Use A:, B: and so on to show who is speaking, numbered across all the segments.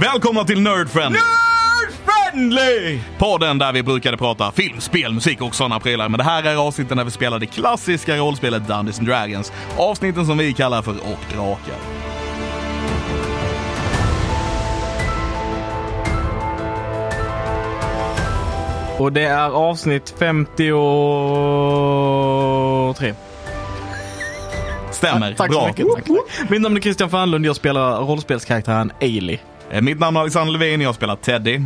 A: Välkomna till Nerd Friend!
B: Nerd friendly!
A: Podden där vi brukade prata film, spel, musik och sådana prylar. Men det här är avsnitten där vi spelar det klassiska rollspelet Dungeons and Dragons. Avsnitten som vi kallar för Och Drakar.
B: Och det är avsnitt 53.
A: Stämmer,
B: Tack
A: bra.
B: så mycket. Tack, tack. Mitt namn är Christian Fanlund. Jag spelar rollspelskaraktären Ailey.
A: Eh, Mitt namn är Alexander Levin, jag spelar Teddy.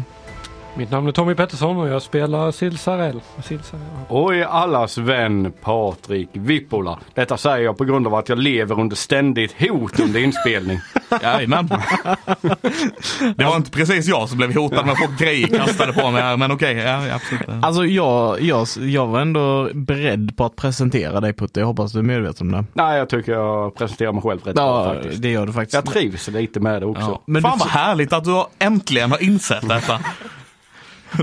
C: Mitt namn är Tommy Pettersson och jag spelar Silsarell. Silsarell.
D: Oj, allas vän Patrik Vippola. Detta säger jag på grund av att jag lever under ständigt hot under inspelning.
A: Jajamän. Det var inte precis jag som blev hotad med att få grejer kastade på mig här, men okej. ja, absolut.
B: Alltså jag, jag, jag var ändå beredd på att presentera dig Putte. Jag hoppas du är medveten om det.
D: Nej, jag tycker jag presenterar mig själv rätt bra
B: Ja,
D: faktiskt.
B: det gör du faktiskt.
D: Jag trivs lite med det också.
A: Ja.
B: Men
A: Fan
B: du-
A: vad härligt att du har äntligen har insett detta.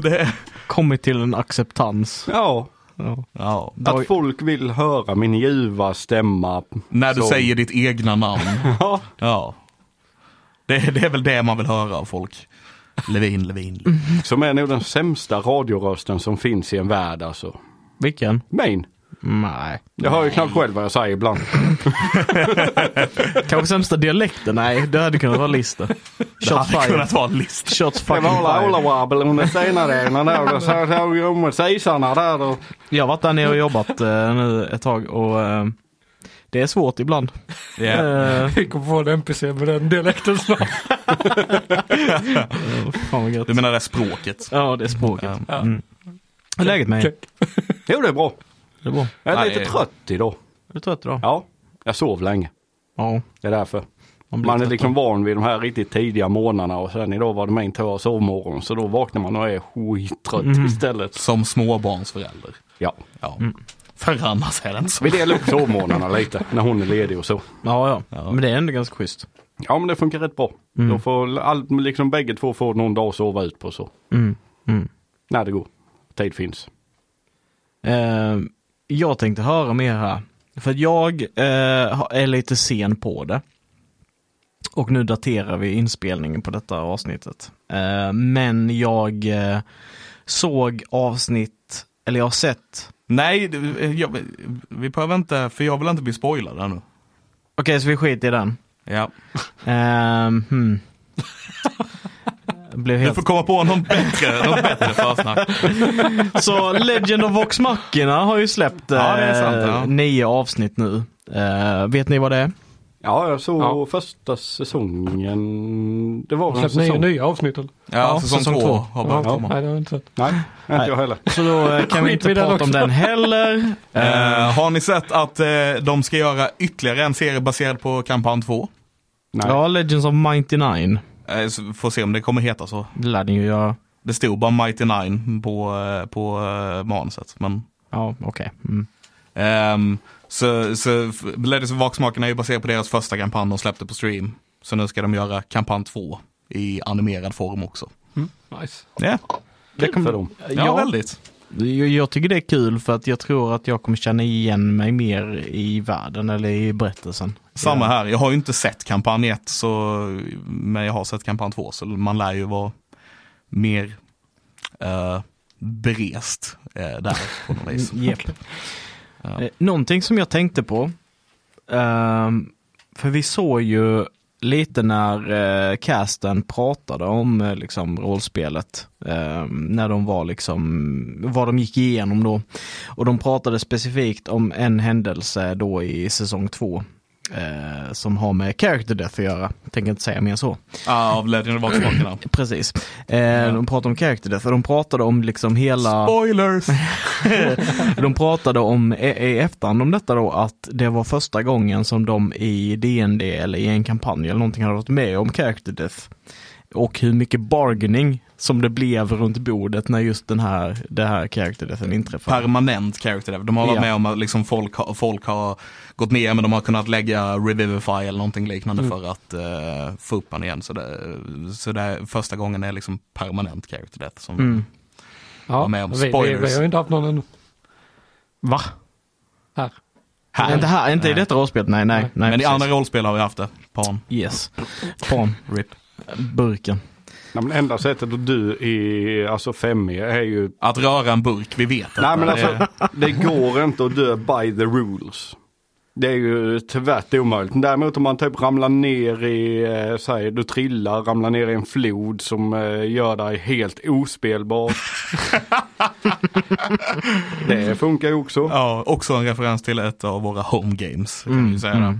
A: Det är...
B: kommit till en acceptans.
D: Ja.
B: Ja.
A: ja.
D: Att folk vill höra min ljuva stämma.
A: När du
D: Så-
A: säger ditt egna namn.
D: Ja.
A: Ja. Det, det är väl det man vill höra av folk. Levin, Levin. Levin.
D: Som är nog den sämsta radiorösten som finns i en värld alltså.
B: Vilken?
D: Main.
B: Nej.
D: Jag hör ju knappt själv vad jag säger ibland.
B: Kanske sämsta dialekten? Nej, det hade kunnat vara Lister.
A: Det
B: Shots
A: hade
B: fired.
A: kunnat vara en list.
B: Shots
D: Det
B: fucking
D: var alla
B: fired.
D: olawabbel under senare ena där. Och så har vi om sisarna där. Och...
B: Jag har varit där nere och jobbat eh, nu ett tag och eh, det är svårt ibland.
A: Ja.
B: Eh,
C: Vi kommer få en NPC med den dialekten snart.
B: Eh, fan vad gött.
A: Du menar det språket?
B: Ja, det är språket.
A: Ja.
B: Mm. Hur är läget med dig?
D: Jo, det är bra.
B: Det är bra.
D: Jag är
A: Nej, det
D: lite
A: är-
D: trött idag.
B: Är du trött idag?
D: Ja, jag sov länge.
B: Ja.
D: Det är därför.
B: Man
D: Man,
B: blir
D: är
B: trött
D: liksom van vid de här riktigt tidiga morgnarna och sen idag var det min tur att sovmorgon så då vaknar man och är skittrött istället.
A: Som småbarnsförälder.
D: Ja,
A: Ja. För annars är det inte så.
D: vi delar upp sovmorgnarna lite när hon är ledig och så.
B: Ja, ja, Men det är ändå ganska schysst.
D: Ja men det funkar rätt bra. Då får all, liksom bägge två få någon dag att sova ut på så.
B: Mm. Mm.
D: När det går. Tid finns.
B: Eh, jag tänkte höra mer här. För att jag eh, ha- är lite sen på det. Och nu daterar vi inspelningen på detta avsnittet. Eh, men jag eh, såg avsnitt, eller jag har sett
A: Nej, det- jag, vi behöver inte, för jag vill inte bli spoilad här nu.
B: Okej, så vi skiter i den.
A: Ja.
B: Ehm, hmm. Jag Blev
A: Du
B: helt...
A: får komma på någon bättre, någon bättre försnack.
B: Så Alltså, Legend of Vox Machina har ju släppt
A: Ja, det är
B: eh,
A: sant, ja.
B: nio avsnitt nu. Eh, vet ni vad det är?
D: Ja, jag såg
C: Ja.
D: första säsongen. Det var väl en
C: Släpp nya,
D: säsong?
C: nya avsnitt eller?
A: Ja,
B: Ja,
A: säsong,
B: säsong
A: två,
B: två.
A: har börjat
D: Ja.
A: komma.
C: Nej, det har jag inte sett.
D: Nej, inte
B: Nej.
D: jag heller.
B: Så då eh, kan vi
C: Skit
B: inte
C: vi den
B: prata om
C: också.
B: den heller. Eh,
A: Eh, har ni sett att eh, de ska göra ytterligare en serie baserad på kampanj 2?
D: Nej.
B: ja, Legends of Mighty Nine.
A: Eh, så får se om det kommer heta så.
B: Det lär den ju göra.
A: Det stod bara Mighty Nine på, eh, på eh, manuset. Men,
B: Ja, okej. Mm.
A: ehm, så, så f- Ladies of Vaksmakarna är ju baserad på deras första kampanj de släppte på stream. Så nu ska de göra kampanj 2 i animerad form också.
C: Nice.
A: Ja,
D: det kom... för dem.
A: ja,
B: Ja.
A: väldigt.
B: Jag, jag tycker det är kul för att jag tror att jag kommer känna igen mig mer i världen eller i berättelsen.
A: Samma här, jag har ju inte sett kampanj 1 så, men jag har sett kampanj 2 så man lär ju vara mer eh, berest eh, där på något vis.
B: Mm, Japp. Eh, Någonting som jag tänkte på, ehm, för vi såg ju lite när eh, casten pratade om eh, liksom, rollspelet, ehm, när de var liksom, vad de gick igenom då. Och de pratade specifikt om en händelse då i säsong två. eh, som har med character death att göra. Tänker inte säga mer så.
A: Ah, av Legend of Vaksmakarna.
B: Precis. Eh, De pratade om character death och de pratade om liksom hela...
A: Spoilers!
B: De pratade om i i efterhand om detta då att det var första gången som de i DND eller i en kampanj eller någonting hade varit med om character death. Och hur mycket bargaining som det blev runt bordet när just den här, det här character deathen inträffade.
A: permanent character dev. De har varit
B: Typ. Ja.
A: med om att liksom folk, har- folk har gått ner men de har kunnat lägga Revivify eller någonting liknande
B: Mm.
A: för att eh, få upp han igen. Så det, så det är första gången det är liksom permanent character death. Som,
B: Mm.
C: Ja,
A: Var med om
C: vi, vi,
A: spoilers.
C: vi har ju inte haft någon ännu.
B: Va?
C: Här.
A: här.
B: Inte, här, inte i
A: Nej.
B: detta rollspelet, nej nej. nej
A: men i
B: precis.
A: andra rollspel har vi haft det. Pan,
B: Yes. Fan,
A: RIP.
B: burken.
D: Nej, men enda sättet att dö i alltså 5E är ju...
A: Att röra en burk, vi vet att
D: Nej men
A: det-
D: alltså det går inte att dö by the rules. Det är ju tvärt omöjligt. Däremot om man typ ramlar ner i, eh, säg du trillar, ramlar ner i en flod som eh, gör dig helt ospelbar. det funkar ju också.
A: Ja, också en referens till ett av våra home games. Kan
B: Mm,
A: vi ju säga det.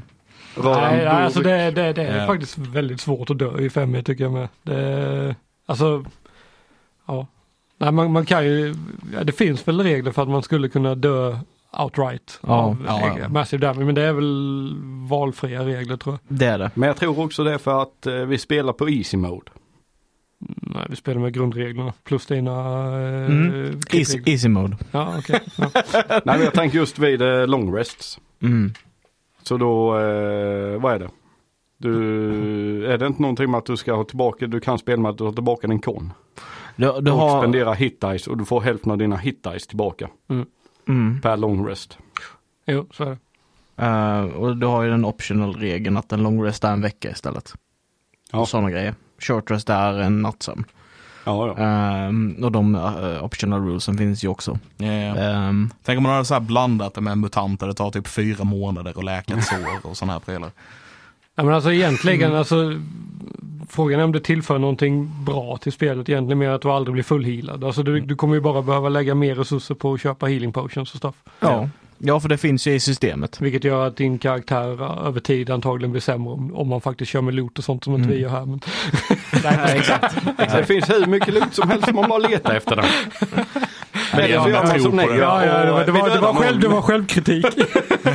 D: Rör en
C: Nej, nej, alltså
D: burk.
C: det, det, det är
A: Ja.
C: faktiskt väldigt svårt att dö i 5 tycker jag med. Det, alltså, ja. Nej, man, man kan ju, ja, det finns väl regler för att man skulle kunna dö outright
B: Ja,
C: av
A: ja,
C: eh,
A: ja.
C: massive damage. Men det är väl valfria regler tror jag.
B: Det är det.
D: Men jag tror också det är för att eh, vi spelar på easy mode.
C: Nej, vi spelar med grundreglerna plus dina eh,
B: Mm. Easy,
C: klippregler.
B: easy mode.
C: Ja, okej. ja.
D: Nej men jag tänker just vid eh, long rests.
B: Mm.
D: Så då, eh, vad är det? Du, är det inte någonting med att du ska ha tillbaka, du kan spela med att du har tillbaka din kon.
B: Du, du
D: och
B: har...
D: spendera hit dice och du får hälften av dina hit dice tillbaka
B: Mm.
D: per long rest.
C: Jo, så är det.
B: Eh, och du har ju den optional regeln att en long rest är en vecka istället.
D: Ja.
B: Och sådana grejer. Short rest är en nattsömn.
D: Ja, ja.
B: Ehm, och de eh, optional rulesen finns ju också.
A: Ja, ja.
B: Ehm,
A: Tänk om man hade så här blandat det med mutanter, det tar typ fyra månader att läka ett sår och sådana här prylar.
C: Ja, men alltså egentligen,
B: Mm.
C: alltså, frågan är om det tillför någonting bra till spelet egentligen mer att du aldrig blir fullhealad. Alltså
B: Mm.
C: du, du kommer ju bara behöva lägga mer resurser på att köpa healing potions och stuff.
B: ja. ja, för det finns ju i systemet.
C: Vilket gör att din karaktär eh, över tid antagligen blir sämre om, om man faktiskt kör med loot och sånt som
B: Mm.
C: inte vi gör här. Men,
B: Nej, exakt.
D: Det finns hur mycket loot som helst om man bara letar efter den.
A: det är
D: Därför
A: jag
D: gör man
A: tror
D: som
A: på
D: ni
A: det.
D: gör
C: ja, ja, det var,
D: och
C: det
D: vi
C: var, det var,
D: dödar
C: själv, det
D: någon.
C: var självkritik.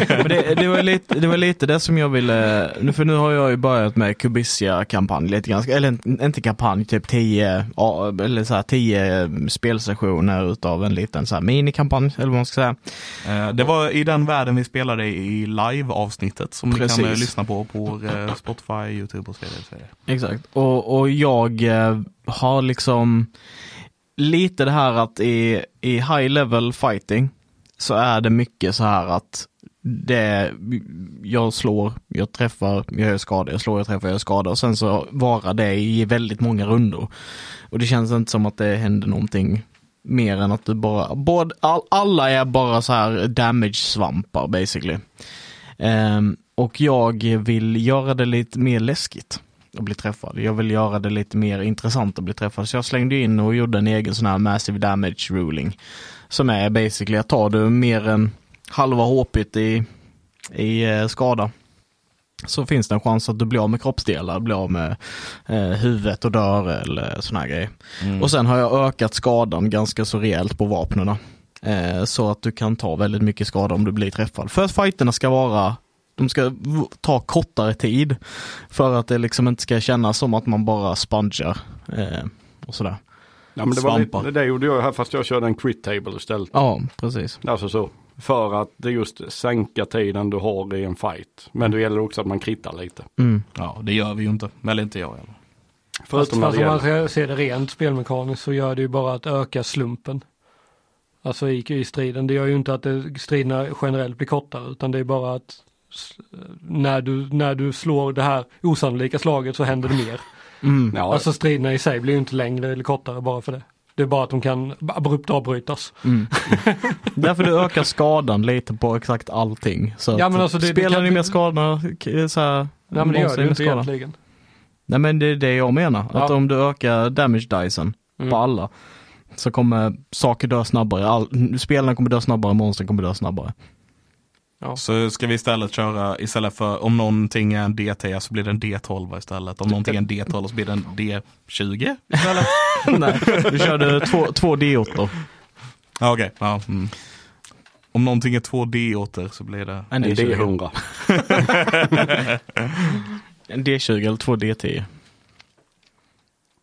B: Men det, det, var lite, det var lite det som jag ville, nu för nu har jag ju börjat med Kubissia-kampanj lite grann, eller en- inte kampanj, typ 10, ja, eller så här 10 spelsessioner utav en liten så här minikampanj, eller vad man ska säga.
A: Eh, Det var i den världen vi spelade i live-avsnittet som ni kan eh,
B: Precis.
A: lyssna på på eh, Spotify, YouTube och så vidare. och så vidare.
B: Exakt. Och, och jag eh, har liksom lite det här att i, i high level fighting så är det mycket så här att det, jag slår, jag träffar, jag gör skada, jag slår, jag träffar, jag gör skada och sen så varar det i väldigt många rundor. Och det känns inte som att det händer någonting mer än att du bara, både, all, alla är bara så här damage-svampar basically. Ehm, och jag vill göra det lite mer läskigt att bli träffad. Jag vill göra det lite mer intressant att bli träffad. Så jag slängde in och gjorde en egen sån här massive damage ruling. Som är basically att tar du mer än halva HP i, i eh, skada så finns det en chans att du blir av med kroppsdelar, blir av med eh, huvudet och dör eller sån här grejer.
A: Mm.
B: Och sen har jag ökat skadan ganska så rejält på vapnen. Eh, så att du kan ta väldigt mycket skada om du blir träffad. För att fighterna ska vara, de ska v- ta kortare tid. För att det liksom inte ska kännas som att man bara spongar. Eh, och sådär.
D: Ja, men det, var
A: Svampar.
D: lite, det gjorde jag här fast jag körde en crit table istället.
B: Ja, precis.
D: Alltså så. För att det just sänka tiden du har i en fight. Men det gäller också att man kritar lite.
B: Mm.
A: Ja, det gör vi ju inte. Eller inte jag heller.
C: Fast,
D: när
C: fast
D: det
C: om man
D: gäller-
C: ska se det rent spelmekaniskt så gör det ju bara att öka slumpen. Alltså i, i striden. Det gör ju inte att det, striderna generellt blir kortare utan det är bara att s- när du, när du slår det här osannolika slaget så händer det mer.
B: Mm.
D: Ja,
C: Alltså striderna i sig blir ju inte längre eller kortare bara för det. Det är bara att de kan abrupt avbrytas.
B: Mm. Därför du ökar skadan lite på exakt allting. Så
C: Ja,
B: att
C: men alltså det- det
B: spelar
C: kan-
B: ni mer skada, k- så här,
C: Nej men det gör
B: monster
C: det ju inte
B: med skada.
C: egentligen.
B: Nej men det är det jag menar, att
C: Ja.
B: om du ökar damage dicen
C: Mm.
B: på alla så kommer saker dö snabbare, All, spelarna kommer dö snabbare, monstren kommer dö snabbare.
A: Så ska vi istället köra, istället för om någonting är en D10 så blir det en D12 istället. Om någonting är en D12 så blir det en D20 istället.
B: Nej, du körde två, två D8.
A: Ja, okej. Ja, mm. Om någonting är två D8 så blir det...
B: En
D: en
B: D20.
D: D100.
B: En D20 eller två D10.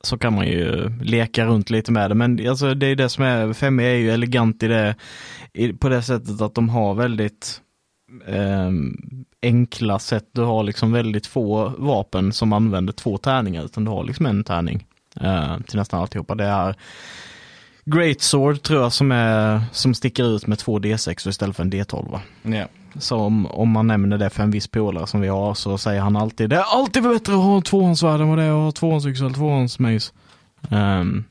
B: Så kan man ju eh, leka runt lite med det, men alltså det är det som är, 5 är ju elegant i det, i, på det sättet att de har väldigt ehm, enkla sätt. Du har liksom väldigt få vapen som använder två tärningar, utan du har liksom en tärning eh, till nästan alltihopa. Det är Great Sword tror jag som, är, som sticker ut med två D6 istället för en D12. va?
A: Ja.
B: Så om, om man nämner det för en viss polare som vi har så säger han alltid det är alltid bättre att ha tvåhandsvärd än vad det är att ha tvåhandsyxel, tvåhandsmejs. Ehm,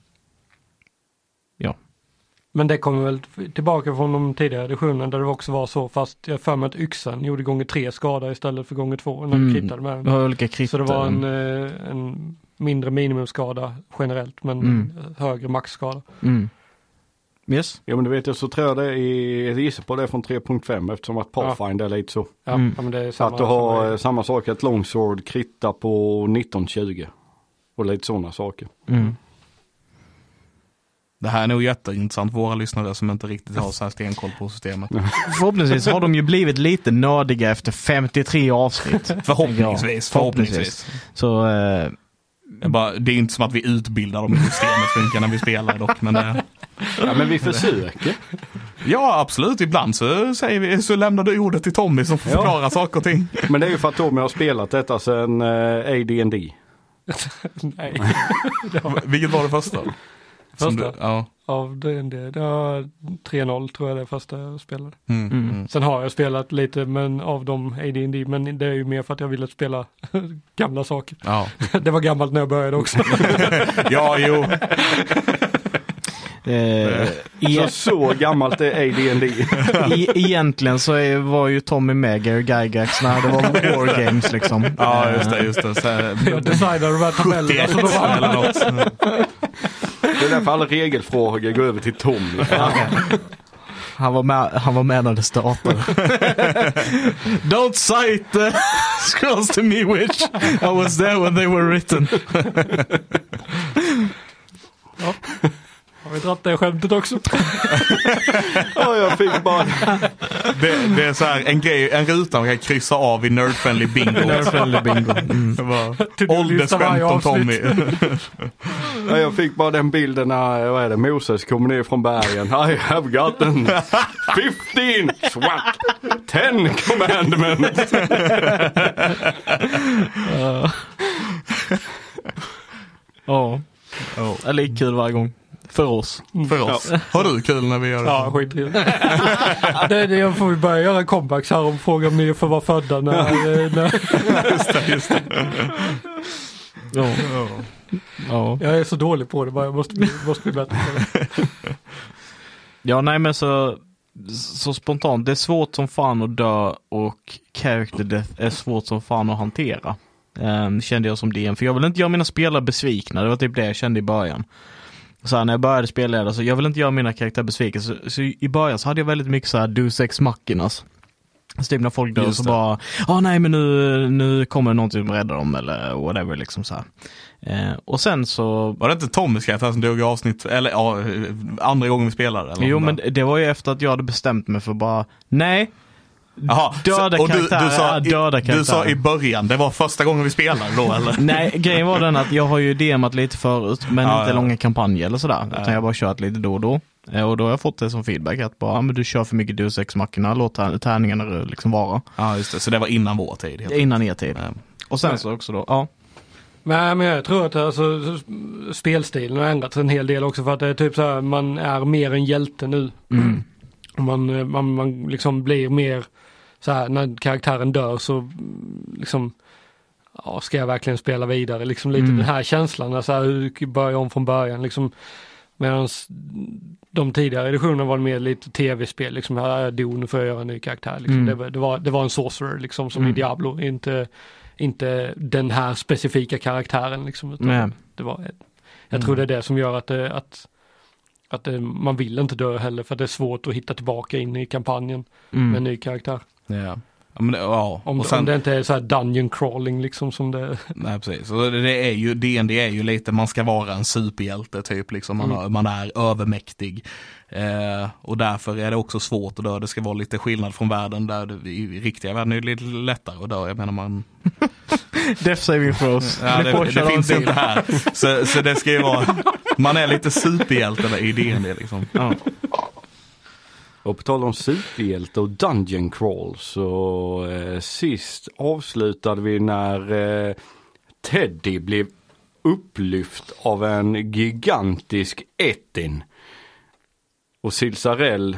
C: Men det kommer väl tillbaka från de tidigare editionerna där det också var så fast jag har för mig att yxan gjorde gånger tre skada istället för gånger två när
B: Mm.
C: du krittade med
B: vi
C: den.
B: har olika kritter.
C: Så det var en, eh, en mindre minimumskada generellt men
B: Mm.
C: högre maxskada.
B: Mm. Yes.
D: Ja men det vet jag så tror jag det är, jag gissar på det från 3.5 eftersom att
C: Ja.
D: Pathfinder är lite så.
C: Ja,
B: Mm.
C: ja, men det är
D: Så
C: samma.
D: att du har
C: samma-
D: eh, samma sak att Longsword kritta på 1920. Och lite sådana saker.
B: Mm.
A: Det här är nog jätteintressant för våra lyssnare som inte riktigt har så här stenkoll på systemet.
B: Förhoppningsvis har de ju blivit lite nördiga efter 53 avsnitt.
A: Förhoppningsvis, förhoppningsvis.
B: Så eh,
A: Jag bara, det är ju inte som att vi utbildar dem i hur systemet funkar när vi spelar dock. Men det,
D: Ja men vi försöker.
A: ja absolut, ibland så, säger vi, så lämnar du ordet till Tommy som får
D: Ja.
A: förklara saker och ting.
D: Men det är ju för att Tommy har spelat detta sedan eh, AD&D.
C: Nej,
A: Vilket var det första? Som
C: Första?
A: Du, ja.
C: av det, det, det var 3-0 tror jag det första jag spelade.
A: Mm.
B: Mm.
A: Mm.
C: Sen har jag spelat lite men av dem AD&D men det är ju mer för att jag ville spela gamla saker.
A: Ja.
C: Det var gammalt när jag började också.
A: ja, jo.
B: Eh,
D: Så,
B: e-
D: så gammalt är AD&D.
B: e- egentligen så är, var ju Tommy med Gary Gygax när det var War Games liksom.
A: Ja, just det, just det. Så,
C: Jag designade de här tabellerna så då var
A: eller något.
D: Det är därför alla regelfrågor går över till Tommy.
B: Han var med, han var med när det startade. Don't cite the scrolls to me which I was there when they were written.
C: Har vi dratt det skämtet också?
D: Ja, jag fick bara...
A: Det, det är så här, en, grej, en ruta man kan kryssa av i Nerdfriendly Bingo. Det var Åldersskämt om Tommy.
D: Ja, jag fick bara den bilden när, vad är det, Moses kommer ner från bergen. I have gotten 15 swat 10 commandments.
B: Ja,
A: Ja,
B: det är lika kul varje gång. För oss.
A: för oss. Har du kul när vi gör det?
C: Ja, skit i det. det, är det. Jag får ju börja göra comebacks här om frågar om ni får vara födda när, eh, när...
A: just det, just det.
B: Ja.
A: Ja.
B: Ja.
C: Jag är så dålig på det bara, jag måste bli, måste bli bättre på det.
B: ja, nej men så, så spontant. Det är svårt som fan att dö och character death är svårt som fan att hantera. Ehm, kände jag som DM. För jag vill inte göra mina spelare besvikna. Det var typ det jag kände i början. Så här, när jag började spela det, så jag vill inte göra mina karaktärer besvikna. Så, så i början så hade jag väldigt mycket så här du sex mackinas. Så typ när folk dör
A: Just
B: så
A: det.
B: bara, ja nej men nu, nu kommer någon som räddar dem eller whatever liksom så här. Ehm, och sen så
A: Var det inte Tommys karaktär som dog i avsnitt, eller ja, andra gången vi spelade? Eller
B: Jo
A: något
B: men
A: där?
B: det var ju efter att jag hade bestämt mig för bara, nej,
A: Jaha, så-
B: döda
A: och du, du,
B: karaktärer
A: sa,
B: är döda
A: i, du sa
B: karaktärer.
A: i början, det var första gången vi spelade då eller?
B: nej grejen var den att jag har ju DMat lite förut men
A: Ja,
B: inte
A: ja.
B: långa kampanjer eller sådär.
A: Ja.
B: Utan jag har bara kört lite då och då. Eh, Och då har jag fått det som feedback att bara, ah, men du kör för mycket Deus ex machina, låt tär- tärningarna liksom vara.
A: Ja just det, så det var innan vår tid. helt
B: Innan er tid.
A: enkelt.
B: Och sen så också då, ja.
C: Nej men jag tror att alltså, spelstilen har ändrats en hel del också för att det är typ så här, man är mer en hjälte nu.
B: Mm.
C: Och Man, eh, man, man liksom blir mer så här när karaktären dör så mm, liksom ja, ska jag verkligen spela vidare liksom lite
B: Mm.
C: den här känslan, alltså här, hur börjar jag om från början liksom. Medan de tidigare editionerna var mer lite tv-spel, liksom här är Don, nu får jag göra en ny karaktär. Liksom.
B: Mm.
C: Det, var- det, var, det var en sorcerer liksom som i
B: Mm.
C: Diablo, inte, inte den här specifika karaktären liksom.
A: Mm.
C: Utan
B: Nej.
C: det var, jag
B: Mm.
C: tror det är det som gör att, det, att, att det, man vill inte dö heller för att det är svårt att hitta tillbaka in i kampanjen med en
B: Mm.
C: ny karaktär.
A: Ja. Ja, men det, ja.
C: Om,
A: och sen,
C: om det inte är så här dungeon crawling liksom som det
A: Nej precis, och det- det är ju, D&D är ju lite, man ska vara en superhjälte typ, liksom. man,
C: Mm.
A: har- man är övermäktig. Eh, och därför är det också svårt att dö, det ska vara lite skillnad från världen där det, i i riktiga världen är det lite lättare att dö, jag menar man
B: Death saving throws.
A: Ja,
B: Blir
A: det,
B: påkörd
A: det
B: av en
A: finns
B: zebra.
A: inte här. Så, så det ska ju vara, man är lite superhjälte i D&D liksom.
B: Ja.
D: Och på tal om superhjälte och dungeon crawl så eh, sist avslutade vi när eh, Teddy blev upplyft av en gigantisk etin. Och Silsarell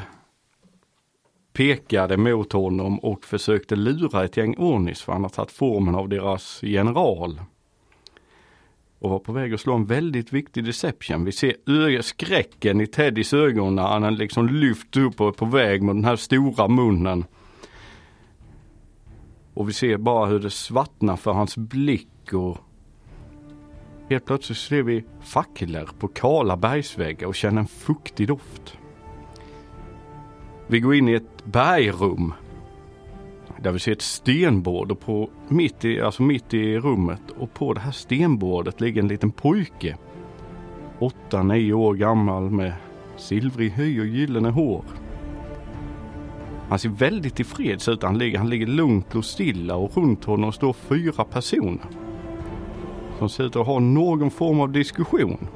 D: pekade mot honom och försökte lura ett gäng Onis för han har tagit formen av deras general. Och var på väg att slå en väldigt viktig deception. Vi ser ö- skräcken i Teddys ögon när han liksom lyfts upp och är på väg med den här stora munnen. Och vi ser bara hur det svartnar för hans blick och Helt plötsligt ser vi facklor på kala bergsväggar och känner en fuktig doft. Vi går in i ett bergrum. Där vi ser ett stenbord och på mitt i, alltså mitt i rummet och på det här stenbordet ligger en liten pojke. åtta nio år gammal med silvrig hy och gyllene hår. Han ser väldigt tillfreds ut. Han ligger, han ligger lugnt och stilla och runt honom står fyra personer som ser ut att ha någon form av diskussion.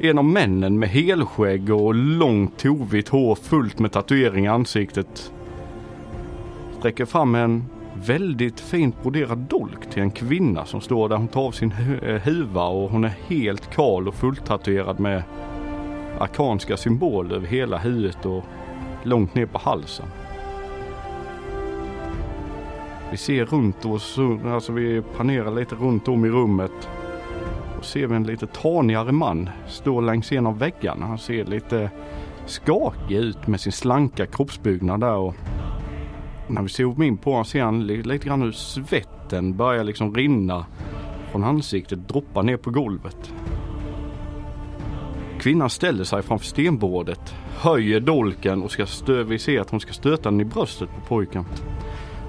D: En av männen med helskägg och långt tovigt hår fullt med tatuering i ansiktet sträcker fram en väldigt fint broderad dolk till en kvinna som står där. Hon tar av sin hu- eh, huva och hon är helt kal och fulltatuerad med arkanska symboler över hela huvudet och långt ner på halsen. Vi ser runt oss, alltså vi panerar lite runt om i rummet. Och ser vi en lite tanigare man stå längs en av väggarna. Han ser lite skakig ut med sin slanka kroppsbyggnad där och när vi zoomar in på honom ser han li- lite grann hur svetten börjar liksom rinna från ansiktet, droppa ner på golvet. Kvinnan ställer sig framför stenbordet, höjer dolken och ska stö- vi ser att hon ska stöta den i bröstet på pojken.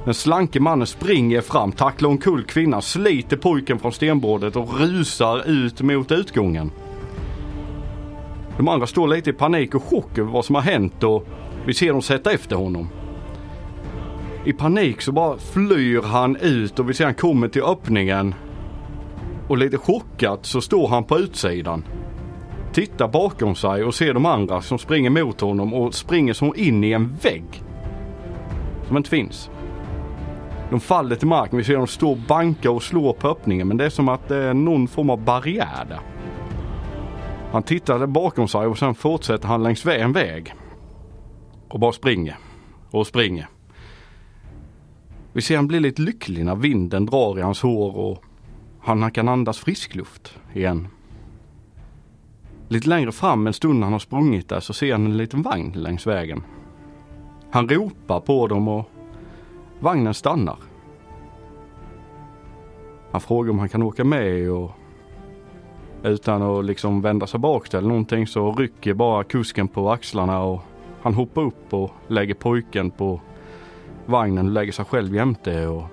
D: Den slanke mannen springer fram, tacklar omkull kvinnan, sliter pojken från stenbordet och rusar ut mot utgången. De andra står lite i panik och chock över vad som har hänt och vi ser dem sätta efter honom. I panik så bara flyr han ut och vi ser han kommer till öppningen. Och lite chockat så står han på utsidan. Tittar bakom sig och ser de andra som springer mot honom och springer som in i en vägg. Som inte finns. De faller till marken. Vi ser dem stå och banka och slå på öppningen. Men det är som att det är någon form av barriär där. Han tittar där bakom sig och sen fortsätter han längs vä- en väg. Och bara springer. Och springer. Vi ser han blir lite lycklig när vinden drar i hans hår och han kan andas frisk luft igen. Lite längre fram en stund när han har sprungit där så ser han en liten vagn längs vägen. Han ropar på dem och Vagnen stannar. Han frågar om han kan åka med och utan att liksom vända sig bak eller någonting så rycker bara kusken på axlarna och han hoppar upp och lägger pojken på vagnen och lägger sig själv jämte och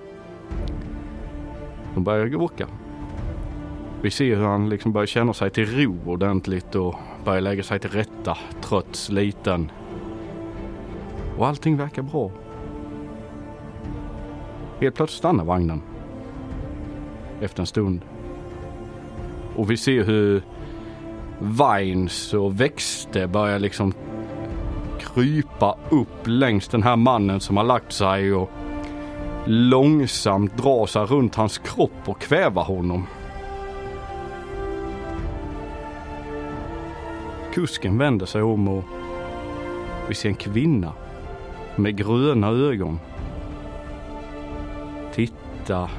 D: de börjar åka. Vi ser hur han liksom börjar känna sig till ro ordentligt och börjar lägga sig till rätta, trött, sliten. Och allting verkar bra. Helt plötsligt stannar vagnen. Efter en stund. Och vi ser hur vines och växter börjar liksom krypa upp längs den här mannen som har lagt sig och långsamt drar sig runt hans kropp och kvävar honom. Kusken vänder sig om och vi ser en kvinna med gröna ögon titta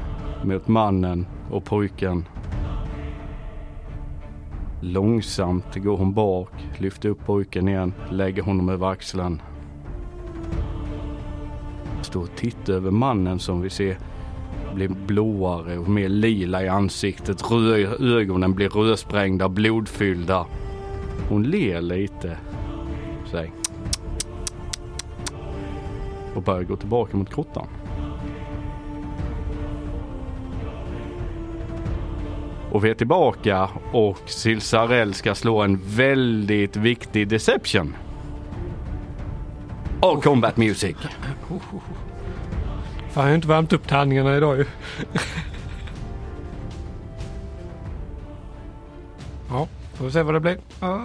D: mot mannen och pojken. Långsamt går hon bak, lyfter upp pojken igen, lägger honom över axeln. Står och tittar över mannen som vi ser blir blåare och mer lila i ansiktet. Rö- ögonen blir rödsprängda, blodfyllda. Hon ler lite. Säg. Och börjar gå tillbaka mot grottan. Och vi är tillbaka och Silsarell ska slå en väldigt viktig deception. Och combat music.
C: Fan, jag har inte värmt upp tärningarna idag ju. ja, får vi se vad det blir. Ah.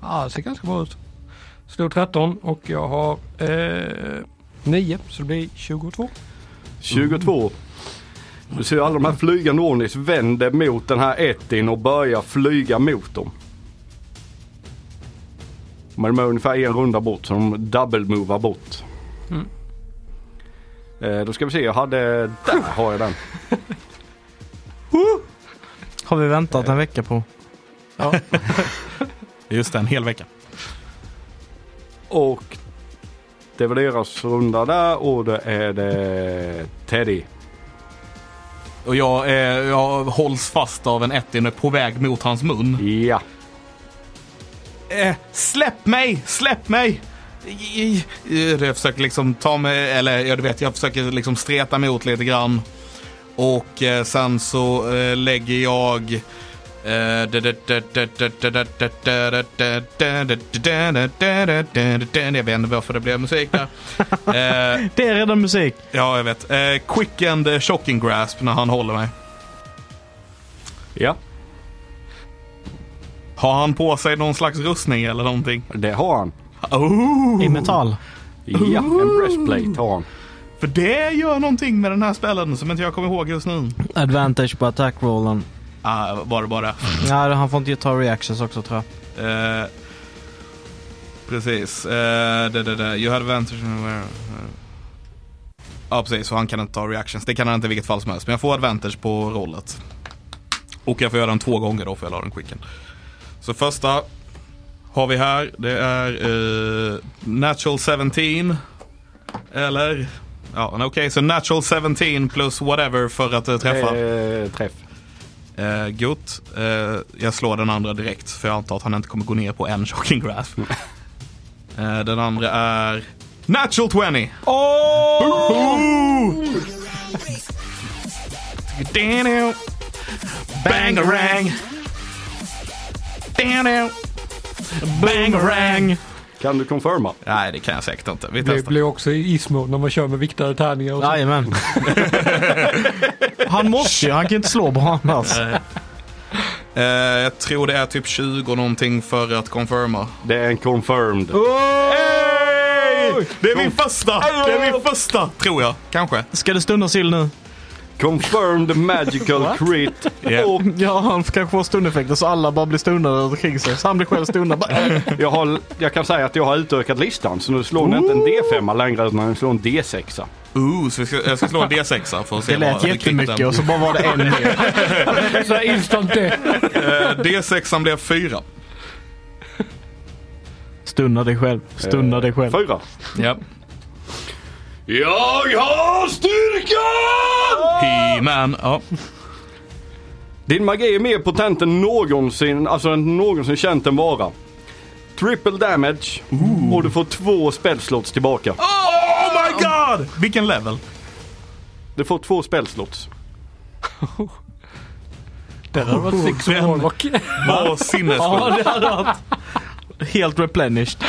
C: ah, det ser ganska bra ut. Slog 13 och jag har eh, 9 så det blir 22.
D: 22. Du ser alla de här flygande Onis vänder mot den här Ettin och börjar flyga mot dem. Men de är ungefär en runda bort så de double-movar bort.
C: Mm.
D: Eh, då ska vi se, jag hade, där har jag den.
B: Har vi väntat en vecka på.
A: Just det, en hel vecka.
D: Och det var deras runda där och det är det Teddy.
A: Och jag, eh, jag hålls fast av en ettin och är på väg mot hans mun.
D: Ja.
A: Eh, släpp mig! Släpp mig! I- i- i- Jag försöker liksom ta mig, eller jag vet, jag försöker liksom streta mig åt lite grann. Och eh, sen så eh, lägger jag... eh, Jag vet inte varför det blev musik där. Eh,
B: Det är redan musik.
A: Ja, jag vet. Eh, Quick and eh, shocking grasp när han håller mig.
D: Ja,
A: Har han på sig någon slags rustning eller någonting?
D: det har han.
A: Oh,
B: I metall.
D: Ja, en breastplate har han.
A: för det gör någonting med den här spelen som inte jag kommer ihåg just nu.
B: Advantage på attack rollen.
A: Ah, bara bara.
B: Nej, han får inte ta reactions också tror jag.
A: Eh, precis. Eh, det, det, det. You had advantage. Ja, ah, precis. Så han kan inte ta reactions. Det kan han inte i vilket fall som helst. Men jag får advantage på rollet. Och jag får göra den två gånger då för jag la den quicken. Så första har vi här. Det är eh, natural 17. Eller? Ja, okej. så natural 17 plus whatever för att eh, träffa.
D: Eh, träff.
A: Eh, gott. Eh, jag slår den andra direkt för jag antar att han inte kommer gå ner på en shocking grasp. eh, den andra är natural 20! Oh! Bangarang! Bangarang!
D: Kan du confirma?
A: Nej, det kan jag säkert inte. Vi
C: Det
A: testar.
C: blir också ismål när man kör med viktade tärningar och så.
B: Jajamän. han måste ju, han kan inte slå bra annars.
A: Eh, jag tror det är typ 20 någonting för att confirma.
D: Det är en confirmed.
A: Hej! Det är min första! Det är min första, tror jag. Kanske.
B: Ska det stundas till nu?
D: Confirmed magical crit.
A: Yeah.
D: Och
B: Ja, han kanske får stundeffekter så alla bara blir stundade runt omkring sig. Så han blir själv stundad. Bara, äh,
D: jag, har, jag kan säga att jag har utökat listan. Så nu slår ni inte en D5 längre utan ni slår en D6.
A: Ooh, så vi ska, jag ska slå en D6 för att se
B: Det lät
A: vad-
B: jättemycket och så bara var det en mer.
C: Så här instant det.
A: Eh, D6 blev 4.
B: Stunna dig själv. Stunna dig själv.
D: Fyra.
A: Yep.
D: Jag har styrkan!
A: He-Man. Ja.
D: Din magi är mer potent än någonsin, alltså än någonsin känt den vara. Triple damage och du får två spellslots tillbaka.
A: Oh my god! Vilken level?
D: Du får två spellslots.
C: Det hade varit sex
A: Den-
C: mål. Och-
A: Vad sinnessjukt.
B: Ja, det hade varit helt replenished.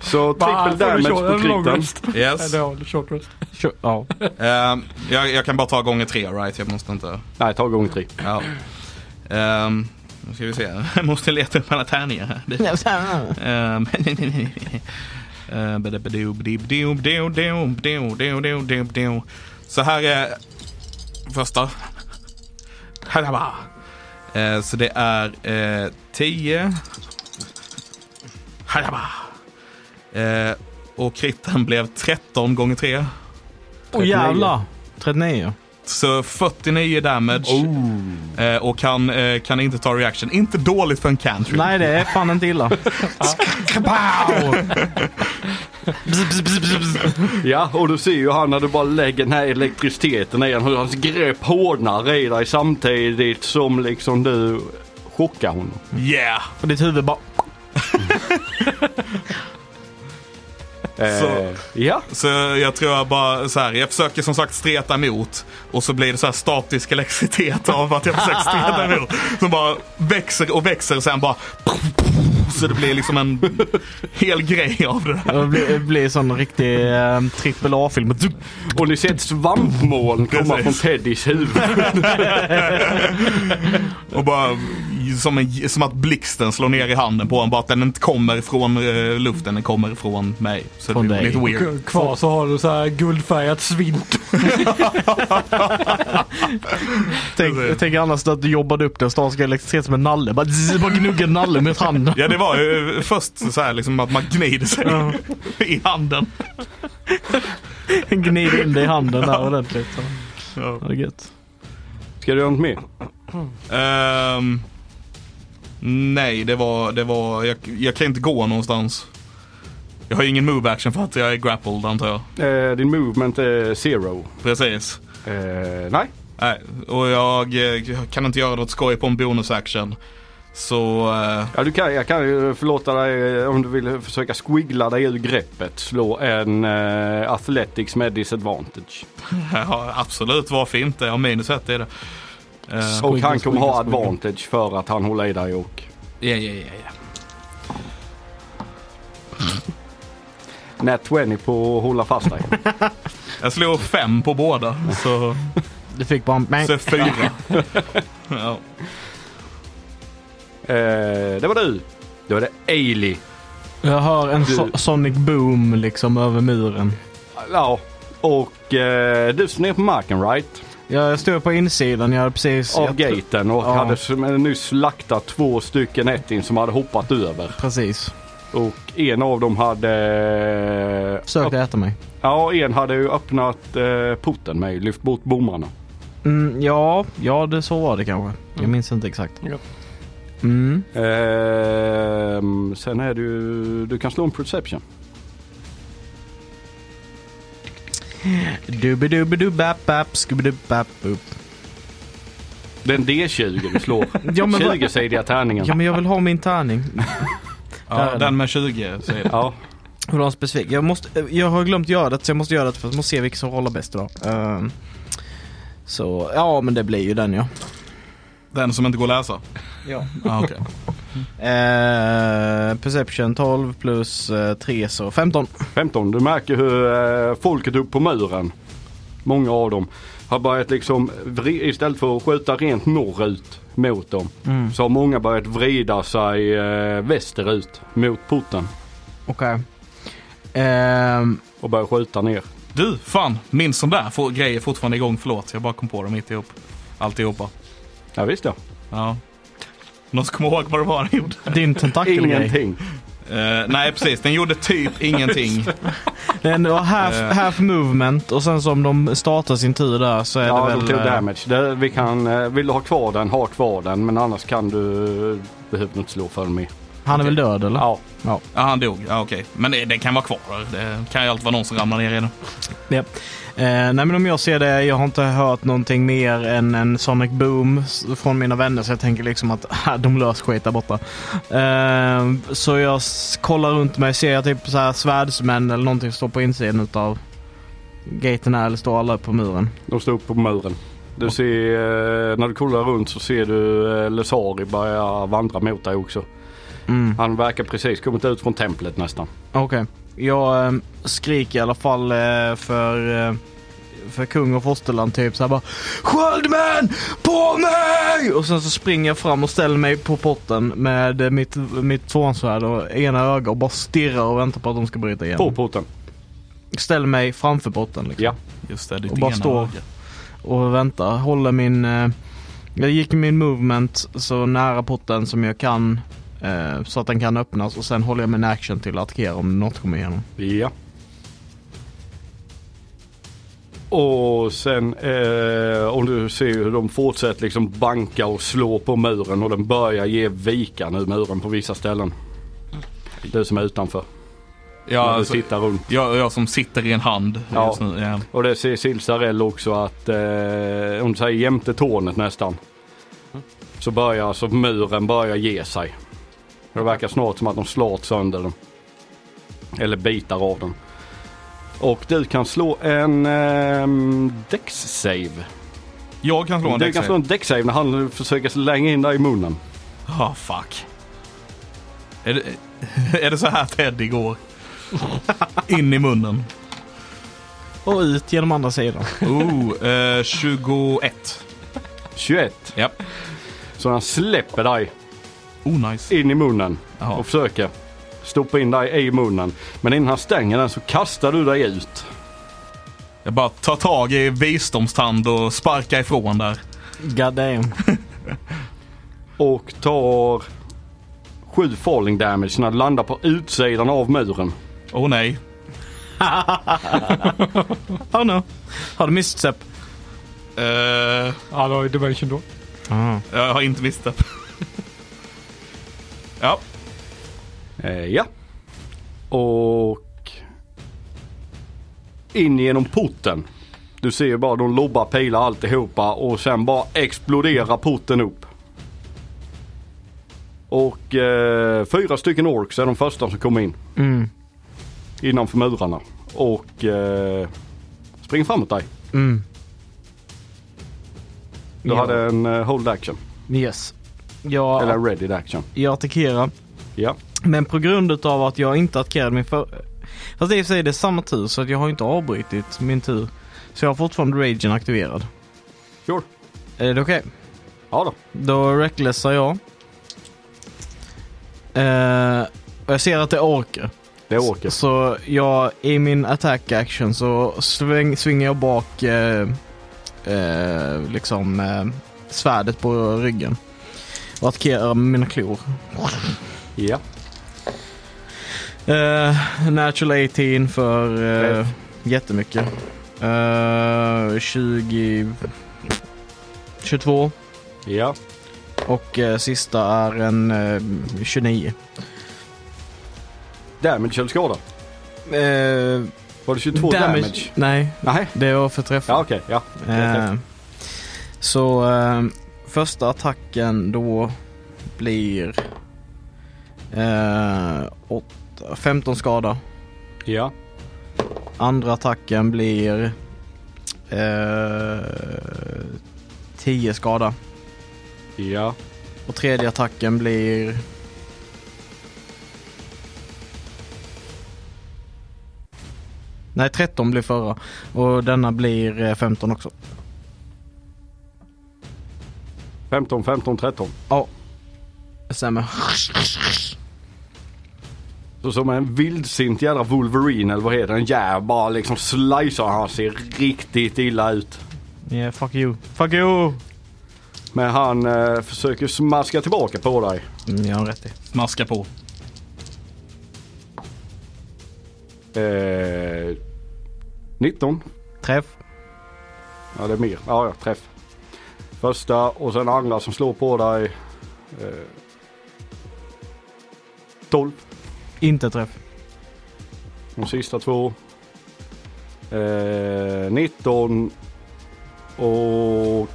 D: Så
C: Bara, får
D: triple
C: du
D: damage
C: köra
D: på
C: en long
D: kriten.
C: rest?
A: Yes.
C: Eller ja, eller short rest.
B: Kör- Ja.
A: Ehm, jag, jag kan bara ta gånger 3, right? Jag måste inte...
D: Nej, ta gång tre.
A: Ja. Ehm, nu ska vi se. Jag måste leta upp alla tärningar här. Det- Ehm, eh, badabadoo, badibadoo, badoo, badoo, badoo, badoo, badoo, badoo. Så här är första. Hadaba. Eh, Så det är eh, 10. Hadaba. Eh, Och kritten blev 13 gånger 3.
B: Åh jävlar. 39.
A: Så 49 damage.
B: Oh.
A: Eh, Och kan, eh, kan inte ta reaction. Inte dåligt för en cantrip.
B: Nej, det är fan inte illa.
A: Kapow!
D: Ja, och du ser ju han när du bara lägger den här elektriciteten i honom hur hans grepp hårdnar i dig samtidigt som liksom du chockar honom.
A: Yeah!
B: Och ditt huvud bara...
D: Eh, ja,
A: Så jag tror jag bara så här, jag försöker som sagt streta emot och så blir det så här statisk elektricitet av att jag försöker streta emot. Som bara växer och växer och sen bara så det blir liksom en hel grej av det där.
B: Det blir, det blir sån riktig eh, trippel A-film.
D: och ni ser ett svampmoln komma från
A: Precis.
D: Teddys huvud.
A: Och bara som, en, som att blixten slår ner i handen på en bara att den inte kommer från eh, luften, den kommer från mig. Så det
B: Från
A: blir
B: dig.
A: lite weird.
C: K- Kvar så har du så här guldfärgat svint.
B: Tänk, jag tänker annars att du jobbade upp det och snart ska elektricitet som en nalle. Bara, zzz, bara gnugga nalle med handen.
A: Ja det var ju först så här liksom att man gnider sig i handen.
B: Gnid in det i handen där ordentligt. Så.
A: Ja.
B: Ja, det är gött.
D: Ska du göra något mer?
A: Ehm, nej, det var, det var jag, jag kan inte gå någonstans. Jag har ju ingen move action för att jag är grappled antar jag.
D: Eh, din movement är zero.
A: Precis.
D: Eh, nej.
A: Nej, och jag, eh, jag kan inte göra något skoj på en bonus action. Så eh,
D: Ja, du kan, jag kan ju förlåta dig eh, om du vill försöka squiggla dig ur greppet. Slå en eh, Athletics med disadvantage.
A: ja, absolut, varför inte? Jag har minus ett i det. Eh,
D: och han kommer ha
B: squiggla.
D: advantage för att han håller i dig och...
A: Ja, ja, ja, ja.
D: Nat 20 på att hålla fast dig.
A: Jag slog fem på båda, så,
B: Du fick bara en bang.
A: så fyra. ja.
D: eh, det var du. Då är det Ailey.
B: Jag hör en so-
D: Du-
B: sonic boom liksom över muren.
D: Ja, och eh, du står ner på marken right?
B: Jag stod på insidan, jag hade precis...
D: Av
B: jag tro-
D: gaten och
B: Ja.
D: hade s- nyss slaktat två stycken ettin som hade hoppat över.
B: Precis.
D: Och en av dem hade... eh,
B: Försökte äta mig.
D: Ja, en hade ju öppnat eh, porten med lyft bort bommarna.
B: Mm, ja, ja det, så var det kanske. Jag minns inte exakt.
C: Ja.
B: Mm.
D: Ehm, sen är det ju... Du kan slå en perception.
B: Dubbidubbidubbap, skubbidubbapp.
D: Det är en D20 du slår.
B: Ja, men vad-
D: 20-sidiga tärningen.
B: Ja men jag vill ha min tärning. Där är
A: Ja,
B: den.
A: den med 20 säger det.
D: Ja,
B: Vill ha en specifik. Jag, måste, jag har glömt göra det så jag måste göra det för att måste se vilken som rollar bäst idag. Ehm, så ja men det blir ju den ja.
A: Den som inte går att läsa?
B: ja.
A: Ah, okej.
B: Eh, perception 12 plus 3 så 15.
D: 15. Du märker hur eh, folket uppe på muren, många av dem, har börjat liksom, vri- istället för att skjuta rent norrut mot dem,
B: Mm.
D: så har många börjat vrida sig eh, västerut mot porten
B: Okej. Ehm,
D: och börjat skjuta ner.
A: Du, fan, min sån där får, grej är fortfarande igång. Förlåt, jag bara kom på det mitt ihop. Alltihopa.
D: Ja, visst ja.
A: Ja. Någon som kommer ihåg vad det var den gjorde?
B: din tentakelgrej.
D: Ingenting.
A: Eh, nej, precis. Den gjorde typ ingenting.
B: Den var half,
A: Eh.
B: half movement och sen som de startar sin tur där så är
D: Ja,
B: det
D: de
B: väl...
D: tog
B: eh,
D: damage. Det, vi kan, eh, vill du ha kvar den, ha kvar den. Men annars kan du, eh, behöver inte slå för den mer.
B: eh, han är väl död eller?
D: Ja,
A: Ja, han dog. Ja, okej. Men det, den kan vara kvar. Det kan ju alltid vara någon som ramlar ner i den.
B: Ja. Eh, nej men om jag ser det, jag har inte hört någonting mer än en Sonic Boom s- från mina vänner så jag tänker liksom att "Ah, de löser skit där borta. Eh, så jag s- kollar runt mig, ser jag typ så här svärdsmän eller någonting står på insidan utav gaten här eller står alla på muren?
D: De står uppe på muren. Du ser, eh, när du kollar runt så ser du eh, Lesari börja vandra mot dig också.
B: Mm.
D: Han verkar precis kommit ut från templet nästan.
B: Okej. Jag eh, skriker i alla fall eh, för, eh, för kung och fosterland typ så här bara Sköldmän! På mig! Och sen så springer jag fram och ställer mig på potten med eh, mitt, mitt tvåhandsvärd och ena ögat och bara stirrar och väntar på att de ska bryta igen.
D: På porten.
B: Ställer mig framför potten liksom.
D: Ja.
A: Just det, ditt
B: Och bara
A: ena
B: stå.
A: öga.
B: och väntar. Håller min... Eh, jag gick min movement så nära potten som jag kan eh, så att den kan öppnas och sen håller jag min action till att attackera om något kommer igenom.
D: Ja. Och sen eh, om du ser hur de fortsätter liksom banka och slå på muren och den börjar ge vika nu muren på vissa ställen. Du som är utanför.
A: Mm. Ja,
D: när du
A: alltså,
D: tittar runt.
A: jag, jag som sitter i en hand
D: Ja.
A: just nu. Ja.
D: Och det ser Silsarell också att, eh, om du säger jämte tornet nästan, så börjar alltså muren börjar ge sig. Det verkar snart som att de slår sönder den. Eller bitar av den. Och du kan slå en eh, däcksave.
A: Jag kan slå en
D: Du
A: dex
D: kan slå en däcksave när han försöker slänga in dig i munnen.
A: Ah, fuck. Är det, är det så här Teddy går? In i munnen.
B: Och ut genom andra sidan.
A: Oh, eh, 21.
D: 21.
A: Ja.
D: Så han släpper dig
A: Oh nice.
D: in i munnen
A: Jaha.
D: och försöka stoppa in dig i munnen. Men innan han stänger den så kastar du dig ut.
A: Jag bara tar tag i visdomstand och sparkar ifrån där.
B: God damn.
D: och tar 7 falling damage när det landar på utsidan av muren.
A: Åh oh, nej.
B: Oh no. Har du misstep?
A: Eh,
C: Ja, det var ju Dimension då.
B: Ah.
A: jag har inte visst det. ja,
D: Eh, ja. Och in genom porten. Du ser ju bara de lobbar pilar alltihopa och sen bara exploderar porten upp. Och eh, fyra stycken orks är de första som kommer in
B: Mm.
D: innanför murarna. Och eh, springer framåt dig.
B: Mm.
D: Du
B: Ja.
D: hade en eh, hold action.
B: Yes. Jag,
D: Eller ready action.
B: jag attackerar.
D: Ja.
B: Men på grund av att jag inte attackerade min för... Fast i och för sig är det samma tur så att jag har inte avbrutit min tur. Så jag har fortfarande ragen aktiverad.
D: Sure.
B: Är det okej?
D: Ja då.
B: Då recklessar jag. Eh, och jag ser att det orkar.
D: Det åker.
B: Så jag, i min attack action så sväng, svingar jag bak eh, eh, liksom eh, svärdet på ryggen. Och attackerar med mina klor.
D: Ja.
B: Eh, natural 18 för eh,
D: Träff.
B: jättemycket. Eh, 20... 22.
D: Ja.
B: Och eh, sista är en eh, 29.
D: Damage eller skada?
B: Eh,
D: Var det 22 damage? damage?
B: Nej,
D: Nej.
B: det var för träff.
D: Ja okej, ja.
B: Eh, så eh, första attacken då blir eh, åtta, 15 skada.
D: Ja.
B: Andra attacken blir eh, 10 skada.
D: Ja.
B: Och tredje attacken blir... Nej, 13 blir förra. Och denna blir eh, 15 också.
D: 15, 15, 13.
B: Ja, det stämmer.
D: Så som en vildsint jävla Wolverine eller vad heter den? Ja, bara liksom slicear han ser riktigt illa ut.
B: Yeah, fuck you. Fuck you!
D: Men han eh, försöker smaska tillbaka på dig.
B: Mm, jag har rätt i.
A: smaska på.
D: Eh, 19.
B: Träff.
D: Ja det är mer. Ja, ja träff. Första och sen andra som slår på dig. Eh, 12.
B: Inte träff.
D: De sista två. Eh, 19 och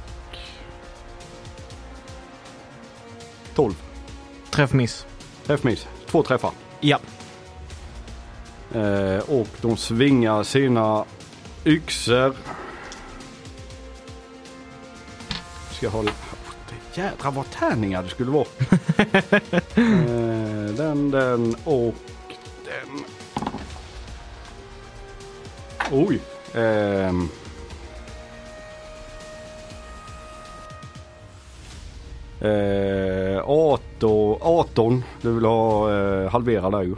D: 12.
B: Träff miss.
D: Träffmiss. Två träffar.
B: Ja.
D: Eh, och de svingar sina yxor. Ska hålla... Åh, det Jädrar vad tärningar det skulle vara. eh, den, den och den. Oj. Ehm. Eh, 18, 18, du vill ha eh, halvera där ju.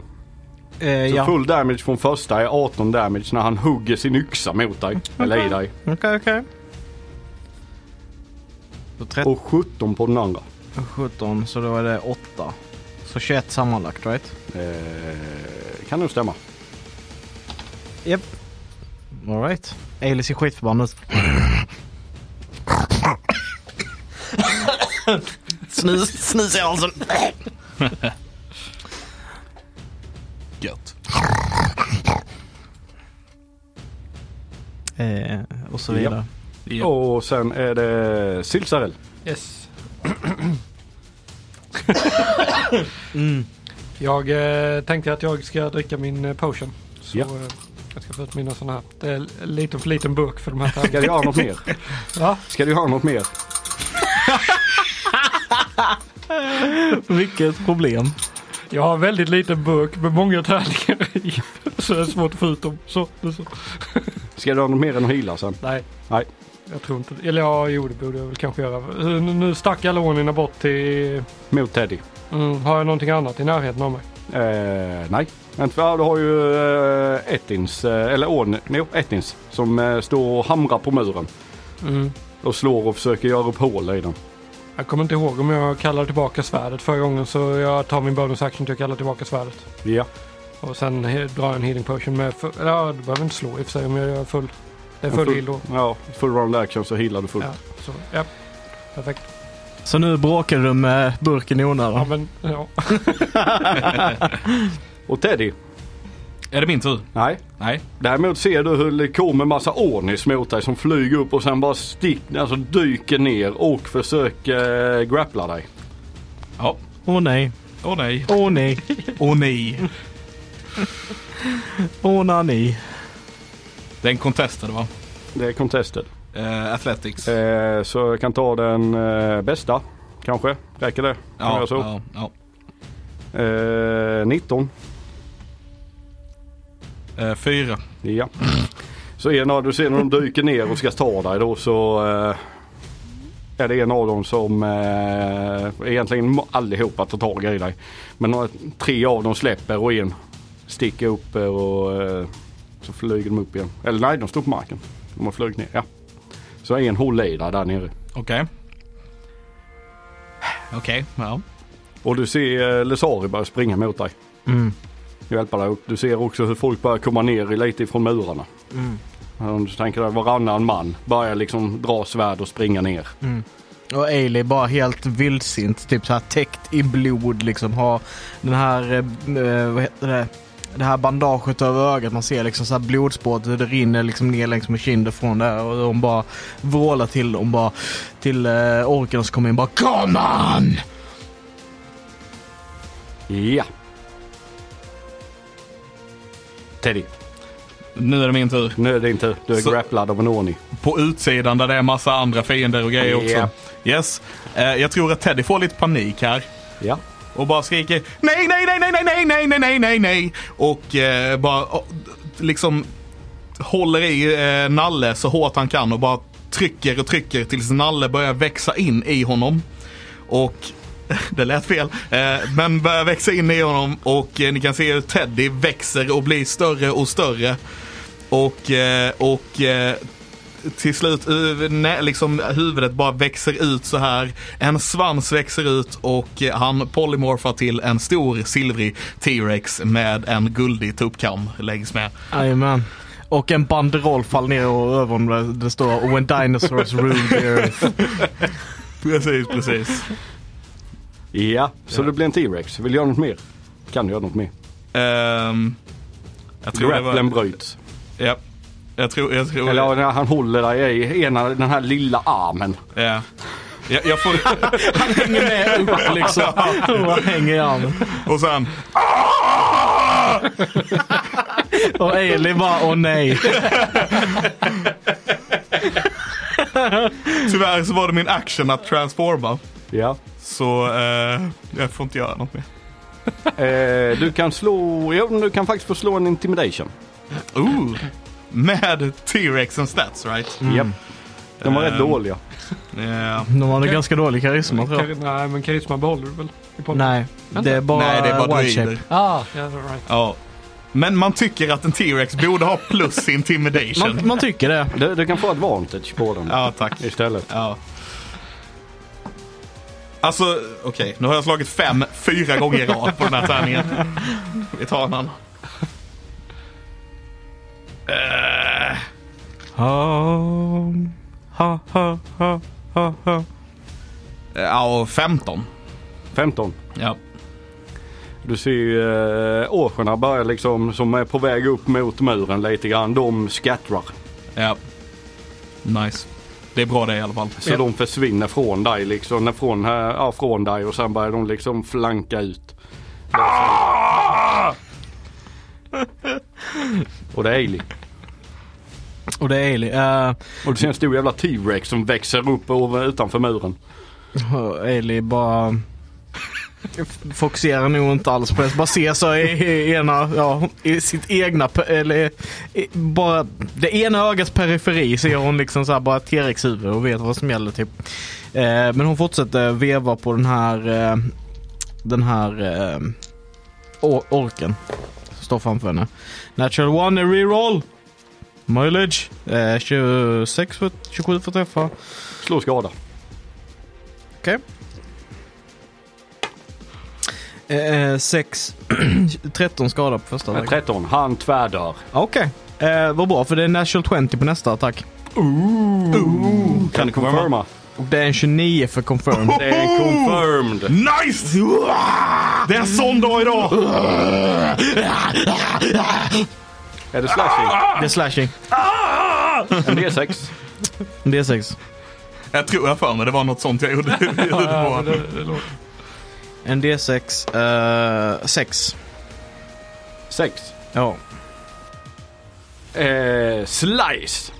B: Eh,
D: Så
B: ja.
D: full damage från första är 18 damage när han hugger sin yxa mot dig. Eller i dig.
B: Okej, okej. Så 13
D: Och 17 på den andra.
B: och 17, så då är det 8. Så 21 sammanlagt, right?
D: Eh, kan nog stämma.
B: Japp. Alright. Alice är skitförbannad. snus, snus i halsen.
A: Gött.
B: Eh, och så vidare.
A: Ja.
D: Och sen är det Silsarell.
C: Yes. Jag eh, tänkte att jag ska dricka min eh, potion. Så
D: Ja.
C: eh, jag ska få ut mina sådana här. Det är lite för liten burk för de här
D: Ska
C: tärningarna.
D: du göra något mer?
C: Va?
D: Ska du göra något mer?
B: Vilket problem.
C: Jag har en väldigt liten burk med många tärningar i. Så det är svårt att få ut dem. Så, det är så.
D: Ska du göra något mer än att heala sen?
C: Nej.
D: Nej.
C: Jag tror inte Eller ja, jo det borde jag väl kanske göra. Nu- Nu stack alla ordningarna bort till
D: Mot Teddy.
C: Mm, har jag någonting annat i närheten av mig?
D: Eh, nej, men för, ja, du har ju eh, Ettins, eh, eller Ån, jo, Ettins, som eh, står och hamrar på muren
C: Mm.
D: och slår och försöker göra upp hål i den.
C: Jag kommer inte ihåg om jag kallar tillbaka svärdet förra gången så jag tar min bonus action till att kalla tillbaka svärdet.
D: Ja.
C: Och sen he- drar jag en healing potion med full... Ja, du behöver inte slå i och för sig om jag gör full... Det är
D: En
C: full
D: full-
C: heal då.
D: Ja, full round action så healar du fullt.
C: Ja, så, ja. Perfekt.
B: Så nu bråkar du med burken i
C: Ja,
B: onödan.
C: men ja.
D: Och Teddy,
A: Är det min tur?
D: nej.
A: Nej.
D: Däremot ser du hur det kommer massa ornis mot dig som flyger upp och sen bara stick, alltså dyker ner och försöker eh, grappla dig.
A: Ja.
B: Åh nej,
A: Åh nej.
B: åh nej,
A: Åh nej.
B: åh nani.
A: Det är en contested va?
D: Det är contested.
A: Eh, athletics.
D: Eh, så jag kan ta den eh, bästa, kanske. Räcker det? Kan jag
A: ja,
D: så?
A: ja, ja.
D: Eh, 19.
A: Eh, fyra.
D: Ja. Så en av, du ser när de dyker ner och ska ta dig då så eh, är det en av dem som eh, egentligen må- allihopa tar tag i dig. Men några- tre av dem släpper och en sticker upp eh, och eh, så flyger de upp igen. Eller nej, de står på marken. De har flugit ner. Ja. Så en håller i dig där nere.
A: Okej. Okej, ja.
D: Och du ser eh, Lesari börja springa mot dig.
B: Mm.
D: Hjälpa dig upp. Du ser också hur folk börjar komma ner lite ifrån murarna.
B: Mm.
D: Om du tänker dig varannan man börjar liksom dra svärd och springa ner.
B: Och Ailey bara helt vildsint, typ så här täckt i blod, liksom har den här, eh, vad heter det, det här bandaget över ögat. Man ser liksom så här blodspåret, hur det rinner liksom ner längs med kinden från där. Och de bara vrålar till dem, bara till eh, orken som kommer in bara Come on!
D: Ja. Teddy,
A: Nu är det min tur.
D: nu är det inte du är
A: Så-
D: grapplad av en ordning.
A: På utsidan där det är massa andra fiender och grejer
D: Ja.
A: också. Yes. Eh, jag tror att Teddy får lite panik här.
D: Ja.
A: Och bara skriker nej, nej, nej, nej, nej, nej, nej, nej, nej, nej, nej. Och eh, bara och, liksom håller i eh, Nalle så hårt han kan och bara trycker och trycker tills Nalle börjar växa in i honom. Och det lät fel. Eh, men börjar växa in i honom och eh, ni kan se hur Teddy växer och blir större och större. Och, eh, och eh, till slut eh, nä- liksom, huvudet bara växer ut så här. En svans växer ut och eh, han polymorfar till en stor silvrig T-rex med en guldig tuppkam längs med.
B: Jajamän. Och en banderoll faller ner och över honom där det står "Oh, When dinosaurs rule the earth.
A: Precis, precis.
D: Ja, så det blir en T-Rex. Vill du göra något mer? Kan du göra något mer?
A: Ehm, jag tror det
D: Grapplen
A: var...
D: bryts.
A: Ja. Jag tror... Jag tror...
D: Eller när han håller dig i ena, den här lilla armen.
A: Ja. Jag, jag får...
B: Hänger med upp liksom. Och hänger i armen.
A: Och sen...
B: Och Ailey bara åh nej.
A: Tyvärr så var det min action att transforma.
D: Ja.
A: Så eh, jag får inte göra något mer.
D: Eh, du kan slå, ja, du kan faktiskt få slå en intimidation.
A: Ooh. Med T-rexen stats right?
D: Japp. De var
A: Mm.
D: rätt
A: Ehm,
D: dåliga.
A: Ja.
B: De hade ganska dålig karisma tror jag.
C: Kar- nej, men karisma behåller du väl? I podden?
B: Nej, det är bara,
A: Nej, det är bara
B: white
A: druider.
B: shape.
C: Ah, yeah, right.
A: Ja. Men man tycker att en T-rex borde ha plus intimidation.
B: Man, man tycker det.
D: Du, du kan få advantage på den
A: Ja, tack.
D: istället.
A: Ja. Alltså, okej. Nu har jag slagit fem, fyra gånger i rad på den här tärningen. Vi tar en annan. Eh,
B: Home. Ha, ha, ha, ha, ha.
A: Ja, och 15.
D: 15.
A: Ja.
D: Du ser ju eh, åskorna börjar liksom, som är på väg upp mot muren lite grann. De skattrar.
A: ja. Nice. Det är bra det i alla fall.
D: Så de försvinner från dig liksom. när- Från, här- ja, från dig och sen börjar de liksom flanka ut. Och det är Ailey.
B: Och det är Ailey. Uh,
D: Och du ser en stor jävla T-Rex som växer upp över, utanför muren.
B: Ailey bara f- fokuserar nog inte alls på det. Bara ser sig i, i ena, ja, i sitt egna, pe- eller i, bara det ena ögats periferi ser hon liksom så här bara ett T-rex huvud och vet vad som gäller typ. Eh, men hon fortsätter veva på den här eh, den här eh, or- orken som står framför henne. Natural one, a reroll! Mileage eh, 26 för, 27 för träffa.
D: Slå skada.
B: Eh, 6, 13 skada på första
D: Med
B: attack.
D: 13. Eh, Han tvärdör.
B: Okej, eh, vad bra för det är natural 20 på nästa attack.
D: Kan du confirma?
B: Och det är en 29 för confirm.
D: Det är confirmed.
A: Nice! Det är en sån dag idag!
D: Är det slashing?
B: Det är slashing.
D: En D6.
B: Det är 6.
A: Jag tror jag för mig det var något sånt jag gjorde.
C: Ja, det, det låter.
B: En D6, 6.
D: 6.
B: ja.
D: Eh, slice.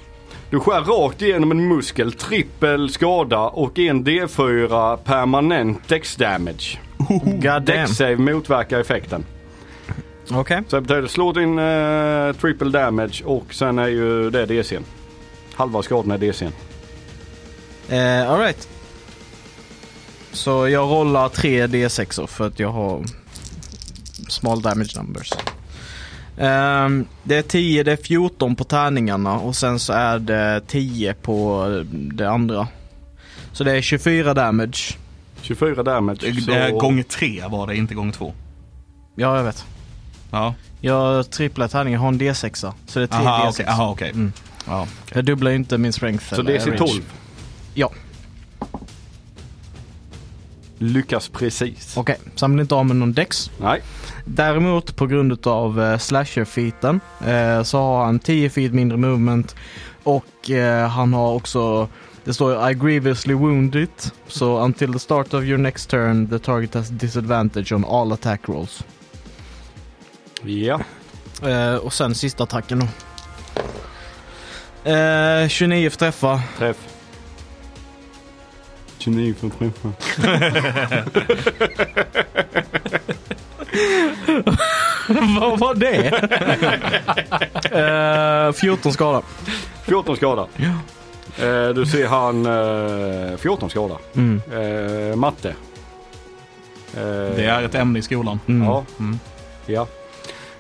D: Du skär rakt igenom en muskel, trippel skada och en D4 permanent dex damage.
B: God damn.
D: Dex save motverkar effekten.
B: Okej.
D: Så det betyder slå din eh, triple damage och sen är ju det DCn. Halva skadan är DCn.
B: Eh, Alright. Så jag rollar 3 D6 -or för att jag har small damage numbers. Ehm, det är 10, det är 14 på tärningarna och sen så är det 10 på det andra. Så det är 24 damage.
D: 24 damage.
A: Det
D: så...
A: är gång tre var det, inte gång två.
B: Ja, jag vet.
A: Ja,
B: Jag tripplar tärningen, har en D6. -a, Så det är 3
A: aha
B: D6.
A: okej. aha, okej.
B: Mm.
A: Ja.
B: Jag dubblar ju inte min strength.
D: Så
B: eller
D: DC
B: reach.
D: 12.
B: Ja,
D: Lyckas precis.
B: okej. Så han blir inte av med någon dex.
D: Nej.
B: Däremot på grund av eh, slasher-feeten eh, så har han 10 feet mindre movement och eh, han har också, det står I grievously wounded, so until the start of your next turn the target has disadvantage on all attack rolls.
D: Ja.
B: Eh, och sen sista attacken då. Eh, 29 för träffa.
D: Träff. 29 för träffa.
B: Vad var det? eh, 14 skada.
D: 14 skada. Eh, du ser han eh, 14 skada.
B: Mm.
D: Eh, matte. Eh,
A: Det är ett ämne i skolan.
B: Mm.
D: Ja.
A: Mm.
D: ja.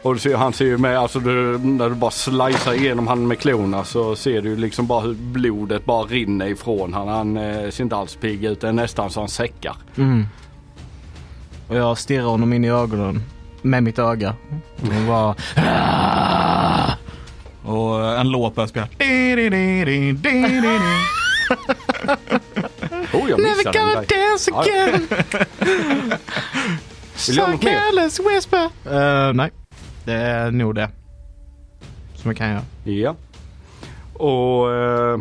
D: Och du ser, han ser ju med, alltså du, när du bara slicear igenom han med klorna så ser du liksom bara hur blodet bara rinner ifrån han. Han eh, ser inte alls pigg ut. Det är nästan så han säckar.
B: Mm. Och jag stirrar honom in i ögonen med mitt öga. Och bara,
A: Och eh, en låt börjar spela. Di-di-di-di-di-di-di.
D: Oh, jag missade den där.
B: dance
D: Ja. Vill du göra något mer?
B: whisper. Eh, nej, det är nog det. Som jag kan göra.
D: Ja. Och... Eh,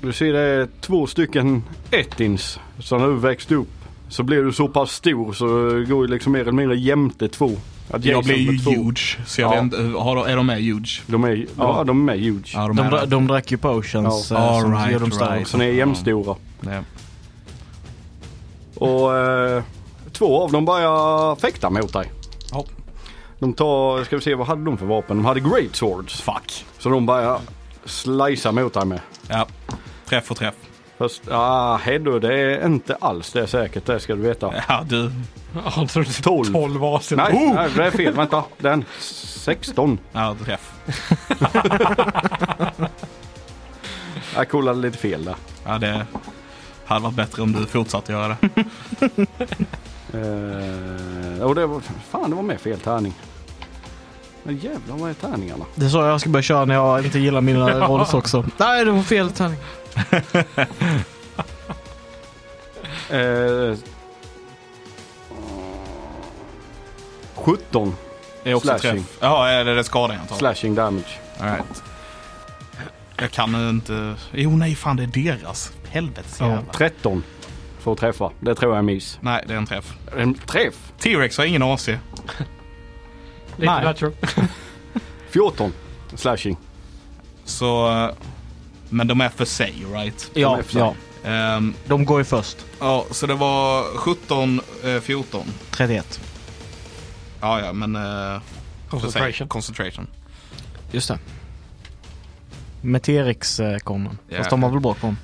D: du ser det är två stycken ettins. Så när du växte upp så blir du så pass stor så det går ju liksom mer eller mindre jämte två. Att
A: Jag
D: Jason
A: blir
D: med två-
A: ju huge. Så jag vet
D: Ja.
A: inte, har, de- är de med huge?
D: De är, ja.
A: Ja.
D: de är huge.
A: Ja, de
B: De,
A: är
B: dra-
A: det.
B: de drack ju potions
A: Ja.
B: eh,
A: All
B: som
A: right,
B: gör dem starka.
A: right.
D: Så ni är jämnstora.
A: Nej.
D: Och eh, två av dem börjar fäkta mot dig.
A: Ja.
D: De tar, ska vi se vad hade de för vapen? De hade great swords.
A: Fuck.
D: Så de börjar slicea mot dig med.
A: Ja. Träff och träff.
D: Fast ah, hej då, det är inte alls det är säkert, det ska du veta.
A: Ja, du.
C: Ja, så det är
D: Tolv.
C: 12 varsin.
D: Nej,
A: Oh!
D: nej, det är fel. Vänta, den 16.
A: Ja, träff.
D: Jag kollade lite fel där.
A: Ja, det hade varit bättre om du fortsatte göra det.
D: Eh, och det var, fan, det var med fel tärning. Men jävlar, vad är tärningarna?
B: Det är så jag ska börja köra när jag inte gillar mina rolls också. Nej, det var fel tärning.
D: Eh, 17
A: Det är också
D: Slashing.
A: träff. Ja, är det det skadar jag antar.
D: slashing damage.
A: All right. Jag kan inte... Jo, nej, fan det är deras. Helvetes
B: Ja.
A: jävlar.
D: 13 för att träffa. Det tror jag är miss.
A: Nej, det är en träff.
D: En träff?
A: T-Rex har ingen AC.
C: Lite
B: Nej.
C: natural.
D: 14 slashing.
A: Så... eh, Men de är för sig, right?
B: Ja,
D: är för-
B: ja,
A: Ehm,
B: de går ju först.
A: ja, så det var 17, eh, 14.
B: 31.
A: Ja, ja, men... eh, För sig.
C: Concentration.
A: Concentration.
B: Just det. Med T-Rex eh, kom den.
A: Ja.
B: Fast de har väl bra kom.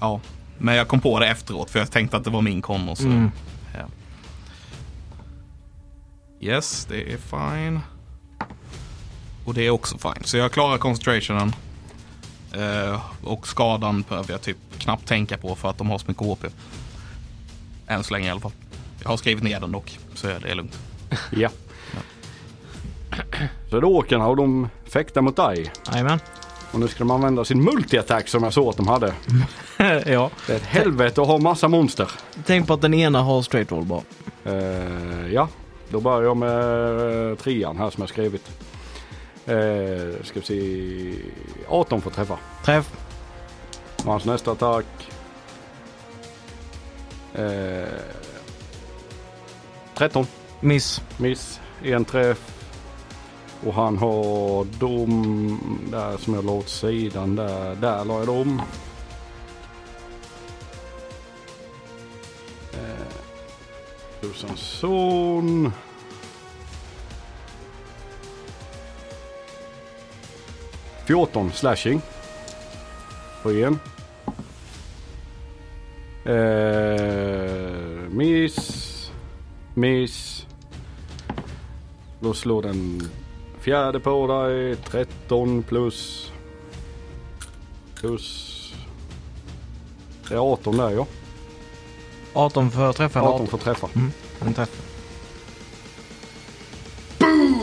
A: Ja, Men jag kom på det efteråt för jag tänkte att det var min kon och så.
B: Mm.
A: Ja. Yes, det är fine. Och det är också fine. Så jag klarar concentrationen. Eh, och skadan behöver jag typ knappt tänka på för att de har så mycket HP. Än så länge i alla fall. Jag har skrivit ner den dock, så det är lugnt.
D: Ja. Så är det åkarna och de fäktar mot dig.
B: Jajamän.
D: Och nu ska de använda sin multiattack som jag såg att de hade.
B: ja.
D: Det är ett helvete att ha massa monster.
B: Tänk på att den ena har straight roll bara.
D: Eh, ja, då börjar jag med eh, trean här som jag skrivit. Uh, ska vi se. 18 får träffa.
B: Träff.
D: Och hans nästa attack. Eh, 13.
B: Miss.
D: Miss, en träff. Och han har dom där som jag la åt sidan där. Där la jag dom. Eh, Josefsson. Fjorton slashing. På en. Eh, miss. Miss. Då slår den fjärde på dig. 13 plus... Plus... Det är 18 där ja.
B: 18 för träff eller
D: 18
B: 18?
D: får träffa.
B: En träff.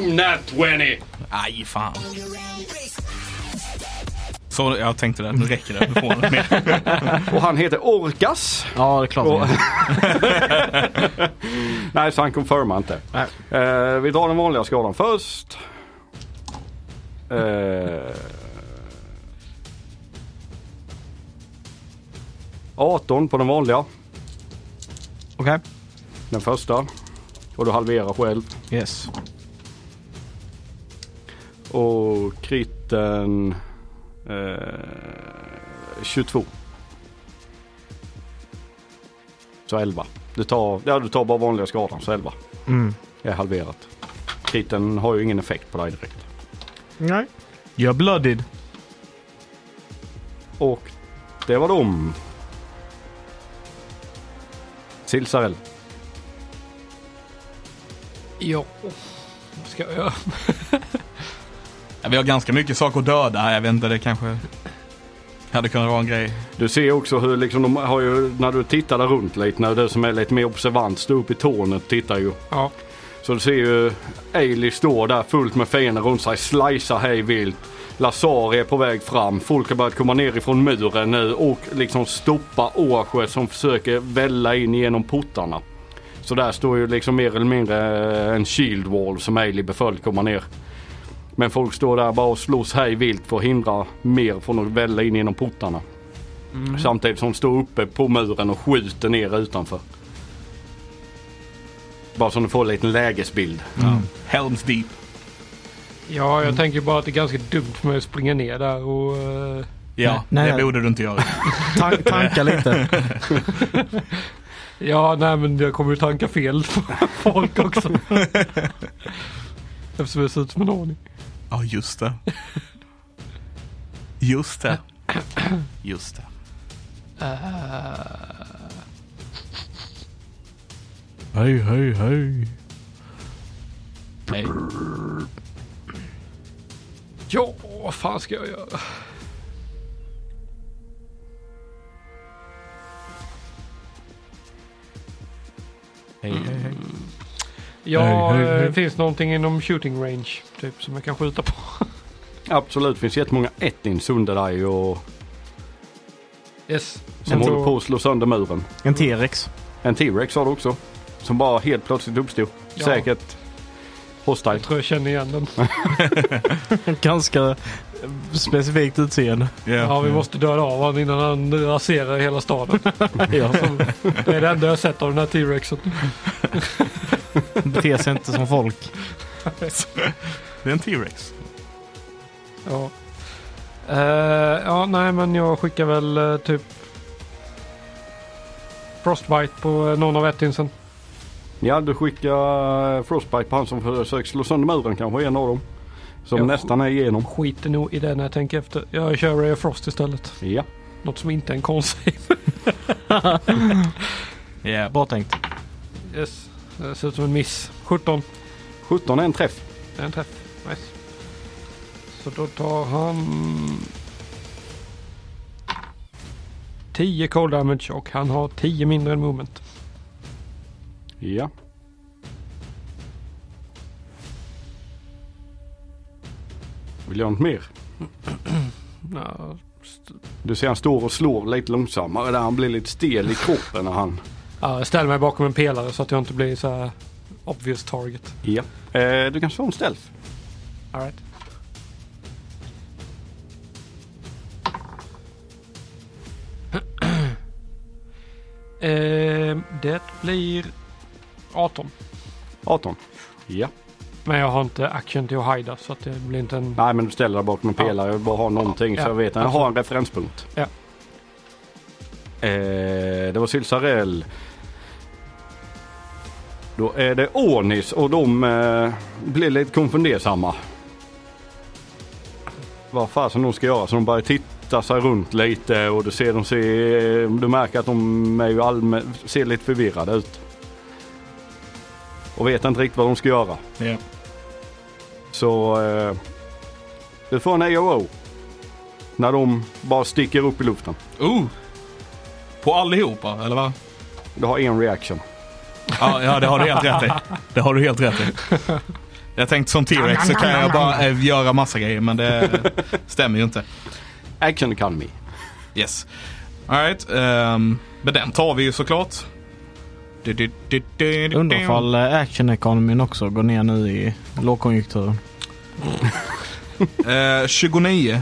D: Nat 20!
A: Aj, fan. Så jag tänkte det, nu räcker det. Nu får man mer.
D: Och han heter Orkas.
B: Ja, det är klart.
D: Och- Nej, så han confirmar inte.
B: Nej.
D: Eh, vi drar den vanliga skadan först. Eh, 18 på den vanliga,
B: Okej.
D: den första. Och du halverar själv.
B: Yes.
D: Och kritten eh, 22. Så 11. Du tar, ja, du tar bara vanliga skadan så 11
B: Mm.
D: är halverat. Kritten har ju ingen effekt på dig direkt.
B: Nej. You're blooded.
D: Och det var dem. Silsarell.
C: Ja, vad ska jag göra?
A: Vi har ganska mycket saker att döda här. Jag vet inte, det kanske hade kunnat vara en grej.
D: Du ser också hur liksom de har ju, när du tittar där runt lite, när du som är lite mer observant står upp i tornet och tittar ju.
C: Ja.
D: Så du ser ju Ailey står där fullt med fiender runt sig, slicear hej vilt. Lazar är på väg fram, folk har börjat komma ner ifrån muren nu och liksom stoppa Åsjö som försöker välla in genom portarna. Så där står ju liksom mer eller mindre eh, en shield wall som Ailey beföll komma ner. Men folk står där bara och slåss hej vilt för att hindra mer från att välla in genom portarna. Samtidigt som de står uppe på muren och skjuter ner utanför. Bara så du får en liten lägesbild.
A: Ja. Helms deep.
C: Ja,
D: Mm.
C: jag tänker bara att det är ganska dumt för mig att springa ner där och... eh,
A: Ja,
B: Nej,
A: det
B: nej.
A: borde du inte göra.
B: Tan- tanka lite.
C: ja, nej men jag kommer ju tanka fel på folk också. Eftersom jag ser ut som en aning.
A: Ja, just det. Just det. Just det.
B: Hej, hej, hej.
A: Nej.
C: Ja, vad fan ska jag göra?
A: Hej, hej, hej.
C: Mm. Ja,
B: Hej, hej, hej.
C: eh, finns någonting inom shooting range typ som jag kan skjuta på?
D: Absolut, det finns jättemånga ettins under dig och
C: Yes.
D: som
C: Men
D: håller
C: då-
D: på att slå sönder muren.
B: En T-rex.
D: En T-Rex har du också. Som bara helt plötsligt uppstod.
C: Ja.
D: Säkert hostile.
C: Jag tror jag känner igen den.
B: Ganska specifikt utseende.
C: Ja,
A: Mm.
C: vi måste döda av honom innan han raserar hela staden. Det är det enda jag sett av den här T-rexen.
B: Beter sig inte som folk.
A: Det är en T-Rex.
C: Ja. Eh, ja, nej, men jag skickar väl eh, typ Frostbite på eh, någon av ettinsen.
D: Ja, du skickar eh, Frostbite på han som försöker slå sönder muren kanske, en av dem. Som
C: Ja.
D: nästan är igenom.
C: Skiter nog i det när jag tänker efter. Jag kör Ray of Frost istället.
D: Ja.
C: Något som inte är en konstig.
A: Yeah.
B: Bra tänkt.
C: Yes. Det Eh, ser ut som en miss. 17.
D: 17 är en träff.
C: Det är en träff. Nice. Så då tar han... 10 cold damage och han har 10 mindre än moment.
D: Ja. Vill jag ha något mer?
C: Ja,
D: Du ser han står och slår lite långsammare där. Han blir lite stel i kroppen när han...
C: jag ställer mig bakom en pelare så att jag inte blir så här obvious target.
D: Ja. Eh, du kan slå en stealth.
C: All right. Ehm, det blir 18.
D: 18. Ja.
C: Men jag har inte action till att hida så att det blir inte en...
D: Nej men du ställer dig bakom en pelare. Jag vill bara ha någonting
C: Ja,
D: så jag vet. Alltså- Jag har en referenspunkt.
C: Ja.
D: Eh, det var Sylsarell. Då är det Ornis och de eh, blir lite konfundersamma. Vad fasen de ska göra så de börjar titta sig runt lite och du ser de ser, du märker att de är ju allmän, ser lite förvirrade ut. Och vet inte riktigt vad de ska göra.
A: Ja.
D: Så eh, du får en E AOO. När de bara sticker upp i luften.
A: Oh! På allihopa, eller va?
D: Du har en reaction.
A: Ja, ja, det har du helt rätt i. Det har du helt rätt i. Jag tänkte som T-Rex så kan jag bara eh, göra massa grejer, men det stämmer ju inte.
D: Action economy.
A: Yes. Alright, um, men den tar vi ju såklart. Du, du, du, du, du,
B: Undrar
A: du.
B: ifall eh, action economin också går ner nu i lågkonjunkturen.
A: Eh, 29.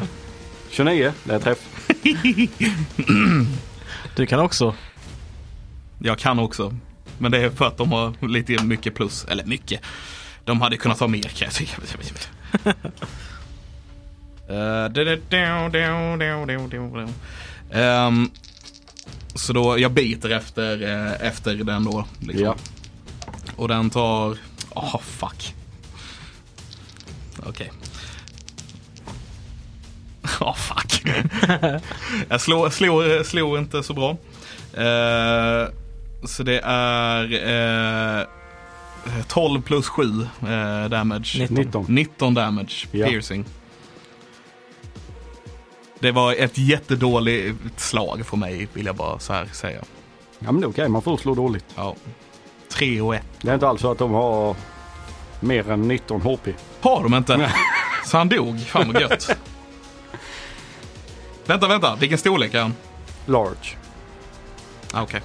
D: 29, det är träff.
B: Du kan också.
A: Jag kan också. Men det är för att de har lite mycket plus. Eller mycket. De hade kunnat ha mer kan jag tycka. Eh, du- du- du- du- du- du- du- du. Ehm, Så då, jag biter efter, eh, efter den då. Liksom.
D: Ja.
A: Och den tar... Ah, fuck. Okej. Ah, fuck. jag slår, slår, slår inte så bra. Eh, så det är eh, 12 plus 7 eh, damage.
B: 19.
D: 19.
A: 19 damage,
D: Ja.
A: piercing. Det var ett jättedåligt slag för mig, vill jag bara så här säga.
D: Ja men det är okej, man får slå dåligt.
A: Ja. 3 och 1.
D: Det är inte alls så att de har mer än 19 HP.
A: Har de inte? Så han dog. Fan vad gött. vänta, vänta. Vilken storlek är han?
D: Large.
A: Ah, Okej.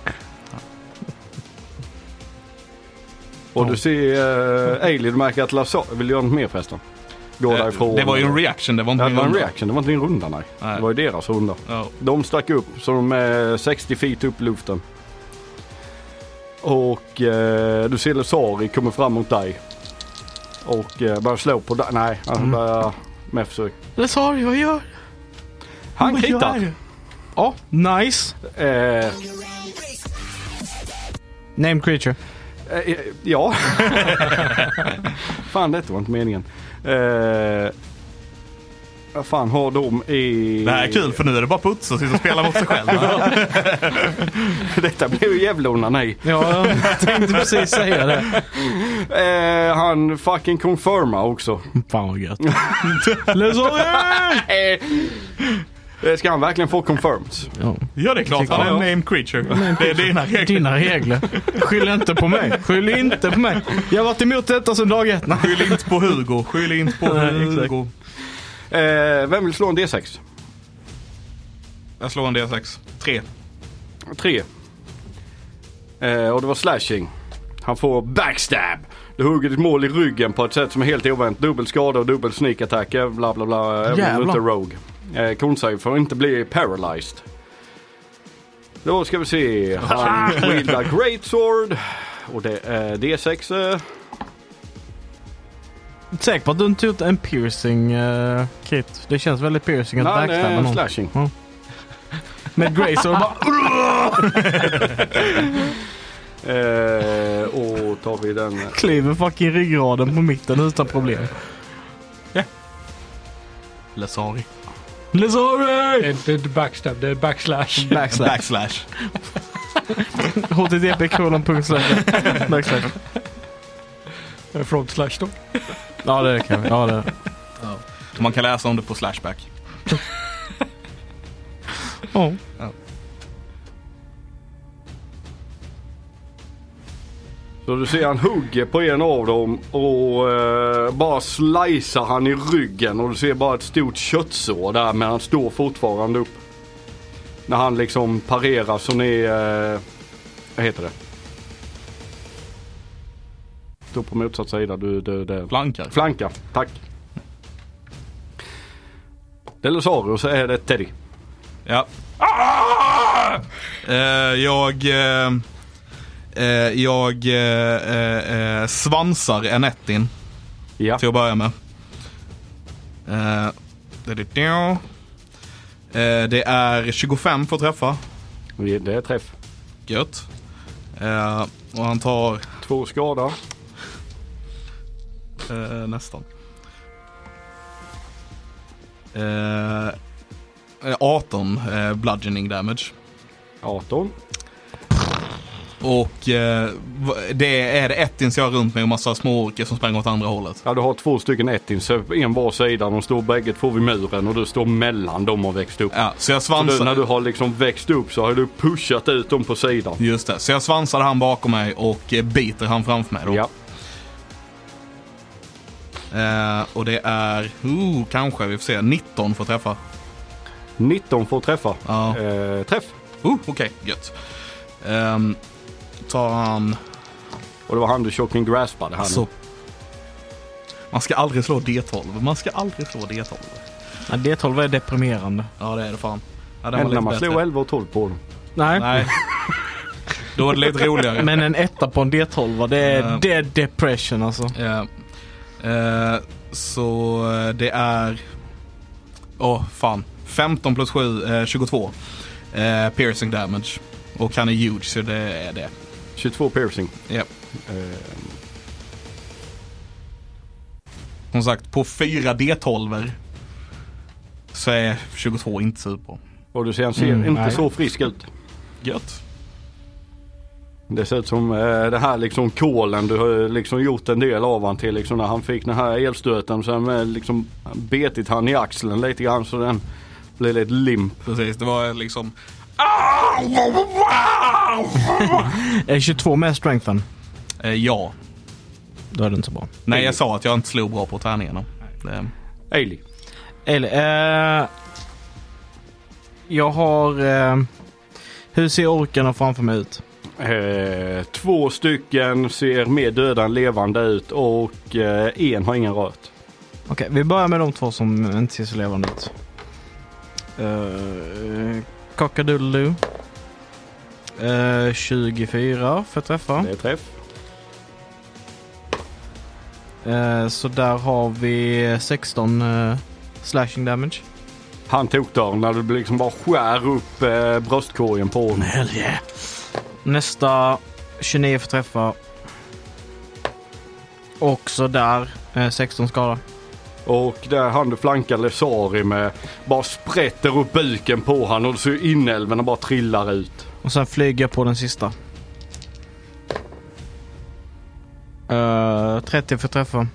D: Och du ser eh, Ailey, du märker att Lazar vill du göra något mer förresten. Går
A: Eh,
D: därifrån.
A: Det var ju en reaction. Det var inte
D: Ja, det
A: min
D: var en
A: runda.
D: reaction, det var inte din runda nej.
A: Nej.
D: Det var ju deras runda.
A: Ja.
D: De stack upp så de är 60 feet upp i luften. Och eh, du ser Lesari kommer fram mot dig. Och eh, börjar slå på dig. Nej, han
A: Mm.
D: börjar med försök.
B: Det sa jag gör.
D: Han kritar.
B: Ja, nice.
D: Eh,
B: Name creature.
D: eh, ja. fan detta var inte meningen. Eh, vad fan har de i...
A: Det här är kul för nu är det bara puts och sitta och spela mot sig själv.
D: detta blev ju jävla onani.
B: Ja, jag tänkte precis säga det.
D: Eh, han fucking confirmar också.
B: Fan vad gött. Lesoria!
D: Eh, Ska han verkligen få confirms?
B: Ja.
A: Ja, det är klart. Han är en
D: Ja.
A: name creature. Det är dina regler.
B: Dina regler. Skyll inte på mig. Skyll inte på mig. Jag har varit emot detta sedan dag ett. Nej.
A: Skyll inte på Hugo. Skyll inte på
B: Nej, exakt.
A: Hugo.
D: Eh, vem vill slå en D6?
A: Jag slår en D6. 3.
D: Tre. Eh, och det var slashing. Han får backstab. Du hugger ditt mål i ryggen på ett sätt som är helt oväntat. Dubbel skada och dubbel sneak attack. Bla bla bla. Även om du
B: Jävlar.
D: inte är rogue. Eh, Konsave får inte bli paralyzed. Då ska vi se. Han wieldar great sword. Och det är D6. eh.
B: Säker på att du inte gjort en piercing eh, kit? Det känns väldigt piercing att
D: Nej, det
B: backstabba
D: är
B: någon.
D: slashing.
B: Med Grace och bara...
D: Eh, och tar vi den.
B: Kliver fucking ryggraden på mitten utan problem.
A: Lesari.
B: Lazari!
C: Det är inte backstab, det är backslash.
B: Backslash.
A: Backslash.
B: http kolon punkt slash. Backslash.
C: Frontslash Eh, då.
B: Ja det kan vi. Ja, det.
A: Man kan läsa om det på Slashback.
B: Oh.
D: Så du ser han hugger på en av dem och eh, bara slicear han i ryggen och du ser bara ett stort köttsår där men han står fortfarande upp. När han liksom parerar så ni, eh, vad heter det? Står på motsatt sida, du, du, du.
A: Plankar.
D: Flanka, tack. Delosaurus så är det Teddy.
A: Ja. Eh, jag eh, eh, jag eh, eh, eh, svansar Anettin
D: Ja.
A: till att börja med. Eh, det är det. Eh, Det är 25 för att träffa.
D: Det är träff.
A: Gött. Eh, och han tar
D: Två skada.
A: eh, nästan. Eh, eh, 18 eh, bludgeoning damage.
D: 18.
A: Och eh, va- det är det ettins jag har runt mig och massa små orker som springer åt andra hållet.
D: Ja, du har två stycken ettins, en var sida. De står bägge två vid muren och du står mellan dem och växt upp.
A: Ja, så jag
D: Så
A: svansar...
D: du, när du har liksom växt upp så har du pushat ut dem på sidan.
A: Just det, så jag svansar han bakom mig och eh, biter han framför mig då.
D: Ja,
A: Eh, och det är, ooh, kanske, vi får se, 19 får träffa.
D: 19 får träffa.
A: Ja,
D: Eh, träff.
A: oh, okej, gött. Ehm, tar han...
D: Och det var han du chocken graspade här nu.
A: Alltså, man ska aldrig slå D12, man ska aldrig slå D12.
B: Ja, D12 är deprimerande.
A: Ja, det är det fan. Ja, den var
D: Men
A: lite
D: när man
A: bättre.
D: slog 11 och 12 på dem.
B: Nej.
A: Nej. Då var det lite roligare.
B: Men en etta på en D12 det är
A: Ja.
B: dead depression alltså.
A: Ja. Eh, så eh, det är... Åh, fan. 15 plus 7, eh, 22. Eh, piercing damage. Och han är huge, så det är det.
D: 22 piercing.
A: Ja.
D: Eh,
A: Som sagt, på 4 D12 så är 22 inte super.
D: och du ser, han ser
B: Mm,
D: inte
B: nej.
D: så frisk ut.
A: Gött.
D: Det ser ut som eh, det här liksom kolen du har liksom gjort en del av han till liksom när han fick den här elstöten så har liksom betit han i axeln lite grann så den blev lite limp.
A: Precis, det var liksom...
B: Är 22 med strengthen?
A: Eh, ja.
B: Då är det inte så bra.
A: Nej, jag sa att jag inte slog bra på tärningarna. Det,
D: Ailey.
B: Eller, eh, jag har... Eh, hur ser orkarna framför mig ut?
D: Eh, två stycken ser mer döda än levande ut och eh, en har ingen rört.
B: Okej, vi börjar med de två som inte ser så levande ut. Uh, Cockadoo uh, 24 för att träffa.
D: Det är träff.
B: Eh, så där har vi 16 eh, slashing damage.
D: Han tog dörren när du liksom bara skär upp eh, bröstkorgen på honom.
B: Hell Nästa 29 för träffa. Också där eh, 16 skada.
D: Och där han du flankar Lesari med bara sprätter upp buken på honom och du ser inälvorna bara trillar ut.
B: Och sen flyger jag på den sista. Eh, 30 för träffa.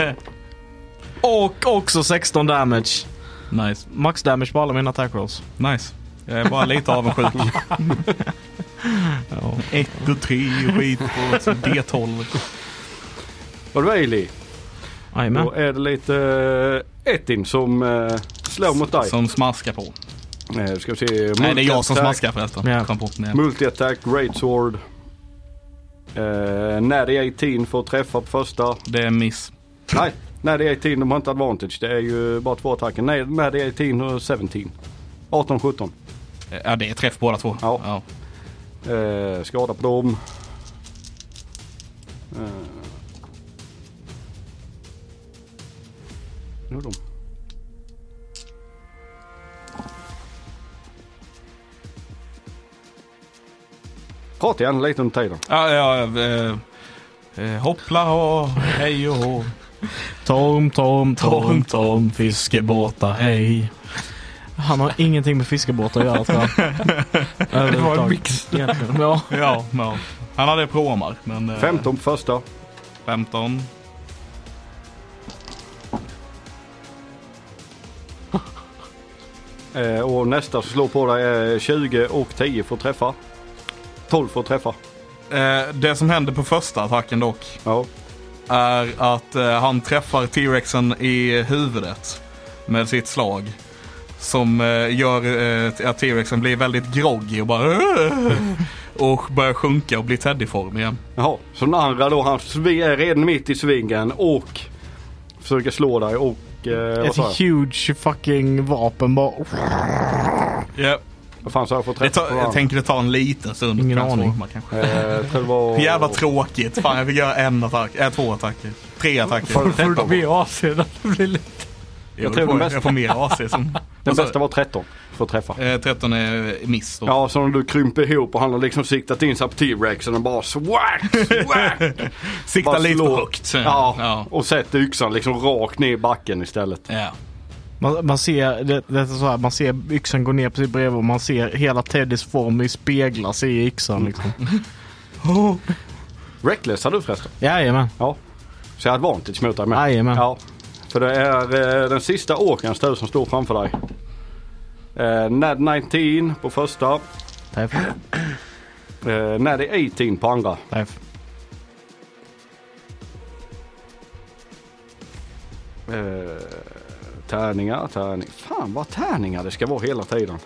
B: Och också 16 damage.
A: nice.
B: Max damage på alla mina attack rolls.
A: Nice. Jag är bara lite avundsjuk. Ett och tre och skit på D12.
D: Var det Ailey?
B: Jajamän.
D: Då är det lite eh, Ettin som eh, slår mot dig.
A: Som smaskar på.
D: Eh, ska vi se.
A: Nej, det är jag som
D: Multi-attack-
A: smaskar förresten.
B: Ja.
A: Kom på. Nej.
D: Multi-attack, great sword. Eh, när det är 18 får träffa på första.
A: Det är miss.
D: Nej, när det är 18 de har inte advantage. Det är ju bara två attacker. Nej, när det är 18 och 17. 18, 17.
A: Ja, det är träff båda två.
D: Ja. Eh, skada på dem. Eh. Nu är de. Prata gärna lite under tiden.
A: Ja, ja, eh, eh, hoppla och hej och hå.
B: Tom, Tom, Tom, Tom, fiskebåtar, hej. Han har ingenting med fiskebåtar att göra tror jag.
C: Det var en
B: Överhuvudtaget,
C: mix.
B: egentligen. Ja.
A: Ja, ja. Han hade promar, men... eh,
D: 15 på första.
A: 15.
D: Eh, och nästa som slår på dig är 20 och 10 får träffa. 12 får träffa.
A: Eh, det som händer på första attacken dock
D: Ja.
A: är att eh, han träffar T-Rexen i huvudet med sitt slag. Som eh, gör eh, att T-Rexen blir väldigt groggy och bara och börjar sjunka och bli teddyform igen.
D: Jaha, så den andra då han svi- är redan mitt i svingen och försöker slå dig och... Eh, vad
B: Ett
D: sa jag?
B: huge fucking vapen bara.
A: Ja.
D: Vad fan sa jag? Får träffa
A: Det tar,
D: på
A: jag
D: varandra.
A: tänker det tar en liten stund.
B: Ingen
A: Kanske
B: aning.
A: två, man kanske.
D: Eh, jag tror det var...
A: Jävla tråkigt. Fan jag fick göra en attack, äh, två attacker. Tre attacker.
D: Får-
A: Jo,
C: Får du bli avsedd att det blir lite...
A: jag,
D: tror
A: får,
D: den bästa-
A: jag får mer AC som...
D: Den
A: Vad sa
D: bästa var 13 får träffa.
A: du? Eh, 13 är miss då.
D: Ja, så när du krymper ihop och han har liksom siktat in sig på T-Rexen och bara swack, swack.
A: Sikta
D: bara
A: lite
D: slå.
A: för högt.
D: ja,
A: Ja.
D: och sätter yxan liksom rakt ner i backen istället.
A: Ja.
B: Man, man ser, det, det är så här, man ser yxan gå ner precis bredvid och man ser hela Teddys form i spegla sig i yxan liksom.
D: Reckless hade du förresten.
B: Jajamän.
D: Ja. Så jag hade advantage mot dig med.
B: Jajamän.
D: Ja. För det är eh, den sista åkarens tur som står framför dig. Eh, Nad 19 på första.
B: Träff.
D: Eh, Nad 18 på andra.
B: Träff.
D: Eh, tärningar, tärningar. Fan vad tärningar det ska vara hela tiden.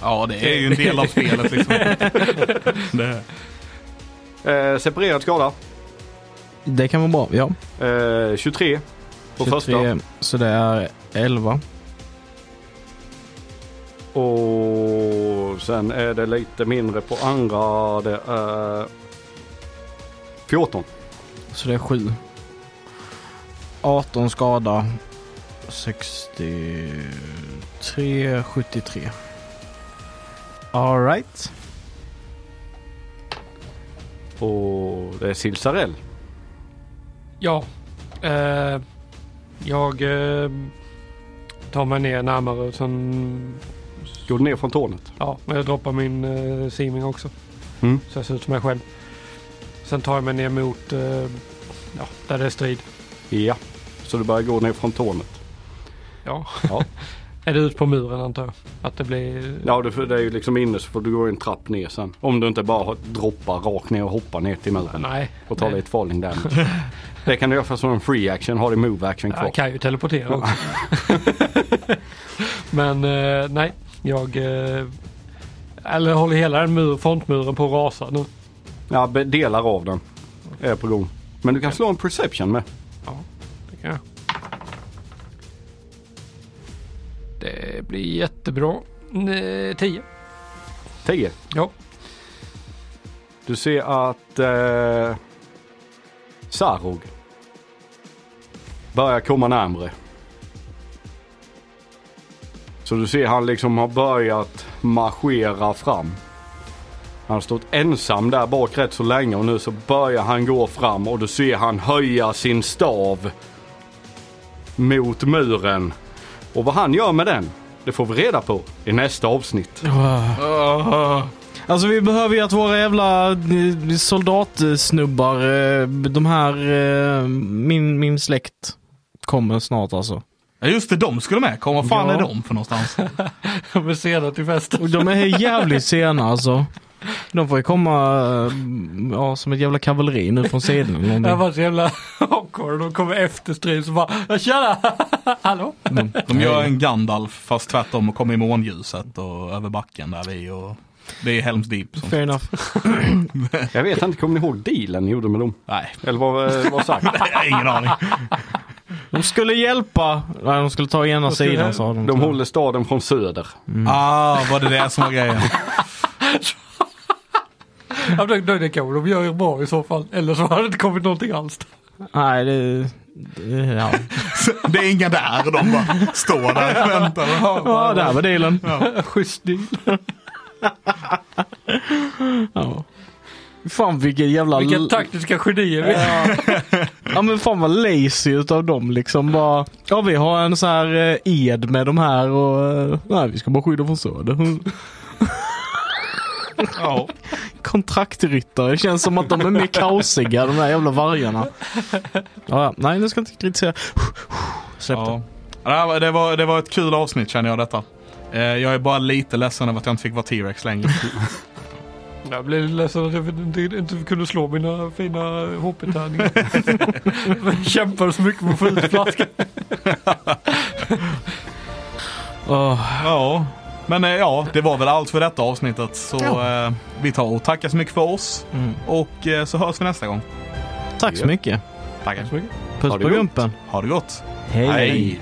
A: ja, det är ju en del av spelet liksom. det.
D: Eh, separerad skada.
B: Det kan vara bra, ja.
D: Eh, 23 på första.
B: 23, så det är 11.
D: Och sen är det lite mindre på andra. Det är 14.
B: Så det är 7. 18 skada. 63, 73. Alright.
D: Och det är Silsarell.
C: Ja. Eh, jag eh, tar mig ner närmare och sen
D: Går ner från tornet.
C: Ja, men jag droppar min eh, siming också.
D: Mm.
C: Så jag ser ut som mig själv. Sen tar jag mig ner mot eh, ja, där det är strid.
D: Ja. Så du börjar gå ner från tornet.
C: Ja.
D: Ja.
C: är det ut på muren antar jag? Att det blir...
D: Ja, det det är ju liksom inne så får du gå en trapp ner sen. Om du inte bara droppar rakt ner och hoppar ner till muren.
C: Nej.
D: Och tar
C: Nej.
D: lite falling damage. Det kan du göra för som en free action. Har du move action kvar.
C: Jag kan ju teleportera också. men eh, nej, jag... Eh, eller håller hela den mur, frontmuren på att rasa nu.
D: Ja, be- delar av den är på gång. Men du kan slå en perception med.
C: Det kan jag. Det blir jättebra. Eh, Tio.
D: 10.
C: Ja.
D: Du ser att eh, Sarog börjar komma närmre. Så du ser han liksom har börjat marschera fram. Han har stått ensam där bak rätt så länge och nu så börjar han gå fram och du ser han höja sin stav mot muren. Och vad han gör med den, det får vi reda på i nästa avsnitt.
B: Alltså vi behöver ju att våra jävla eh, soldatsnubbar, eh, de här, eh, min, min släkt kommer snart alltså.
A: Ja, just det, de skulle med. Kom, vad fan
B: Ja.
A: är de för någonstans?
C: Jag blir senare till festen.
B: Och de är jävligt sena alltså. De får ju komma eh, ja, som ett jävla kavalleri nu från sidan eller
C: Jag
B: någonting.
C: var så jävla awkward. De kommer efter stream så bara “Tjena! Hallå?”
A: De gör en Gandalf fast tvärtom och kommer i månljuset och över backen där vi och det är Helms Deep. Som...
B: Fair enough.
D: Jag vet inte, kommer ni ihåg dealen ni gjorde med dem?
A: Nej,
D: Eller vad var sagt?
A: jag har ingen aning.
B: De skulle hjälpa. Nej, de skulle ta ena
C: skulle-
B: sidan sa de.
D: De håller staden från söder.
A: Ah, var det det som var grejen?
C: Ja, men det, det kan de gör ju bra i så fall. Eller så har det inte kommit någonting alls.
B: Nej, det... det ja.
A: Det är inga där och de bara står där och väntar.
B: ja, där var dealen.
C: Schysst deal.
B: Ja. Fan vilken jävla...
C: Vilka taktiska genier vi är.
B: Mm. Ja. ja men fan vad lazy utav dem liksom. Bara, ja vi har en sån här eh, ed med de här och eh, nej vi ska bara skydda från söder.
A: Ja.
B: Kontraktryttare, det känns som att de är mer kaosiga de där jävla vargarna. Ja, ja. nej nu ska jag inte kritisera. Släpp det.
A: Ja. Det, här var- det, var, det var ett kul avsnitt känner jag detta. Eh, Jag är bara lite ledsen över att jag inte fick vara T-Rex längre.
C: Jag blev ledsen att jag inte, inte kunde slå mina fina HP-tärningar. Jag Kämpade så mycket för att få ut flaskan.
B: Åh.
A: Ja. Men eh, ja, det var väl allt för detta avsnittet. Så eh, vi tar och tackar så mycket för oss.
B: Mm.
A: Och eh, så hörs vi nästa gång.
B: Tack så mycket.
A: Tackar.
B: Puss
D: Ha det
B: på
D: gott.
B: gumpen.
A: Ha det gott.
B: Hej.
A: Hej.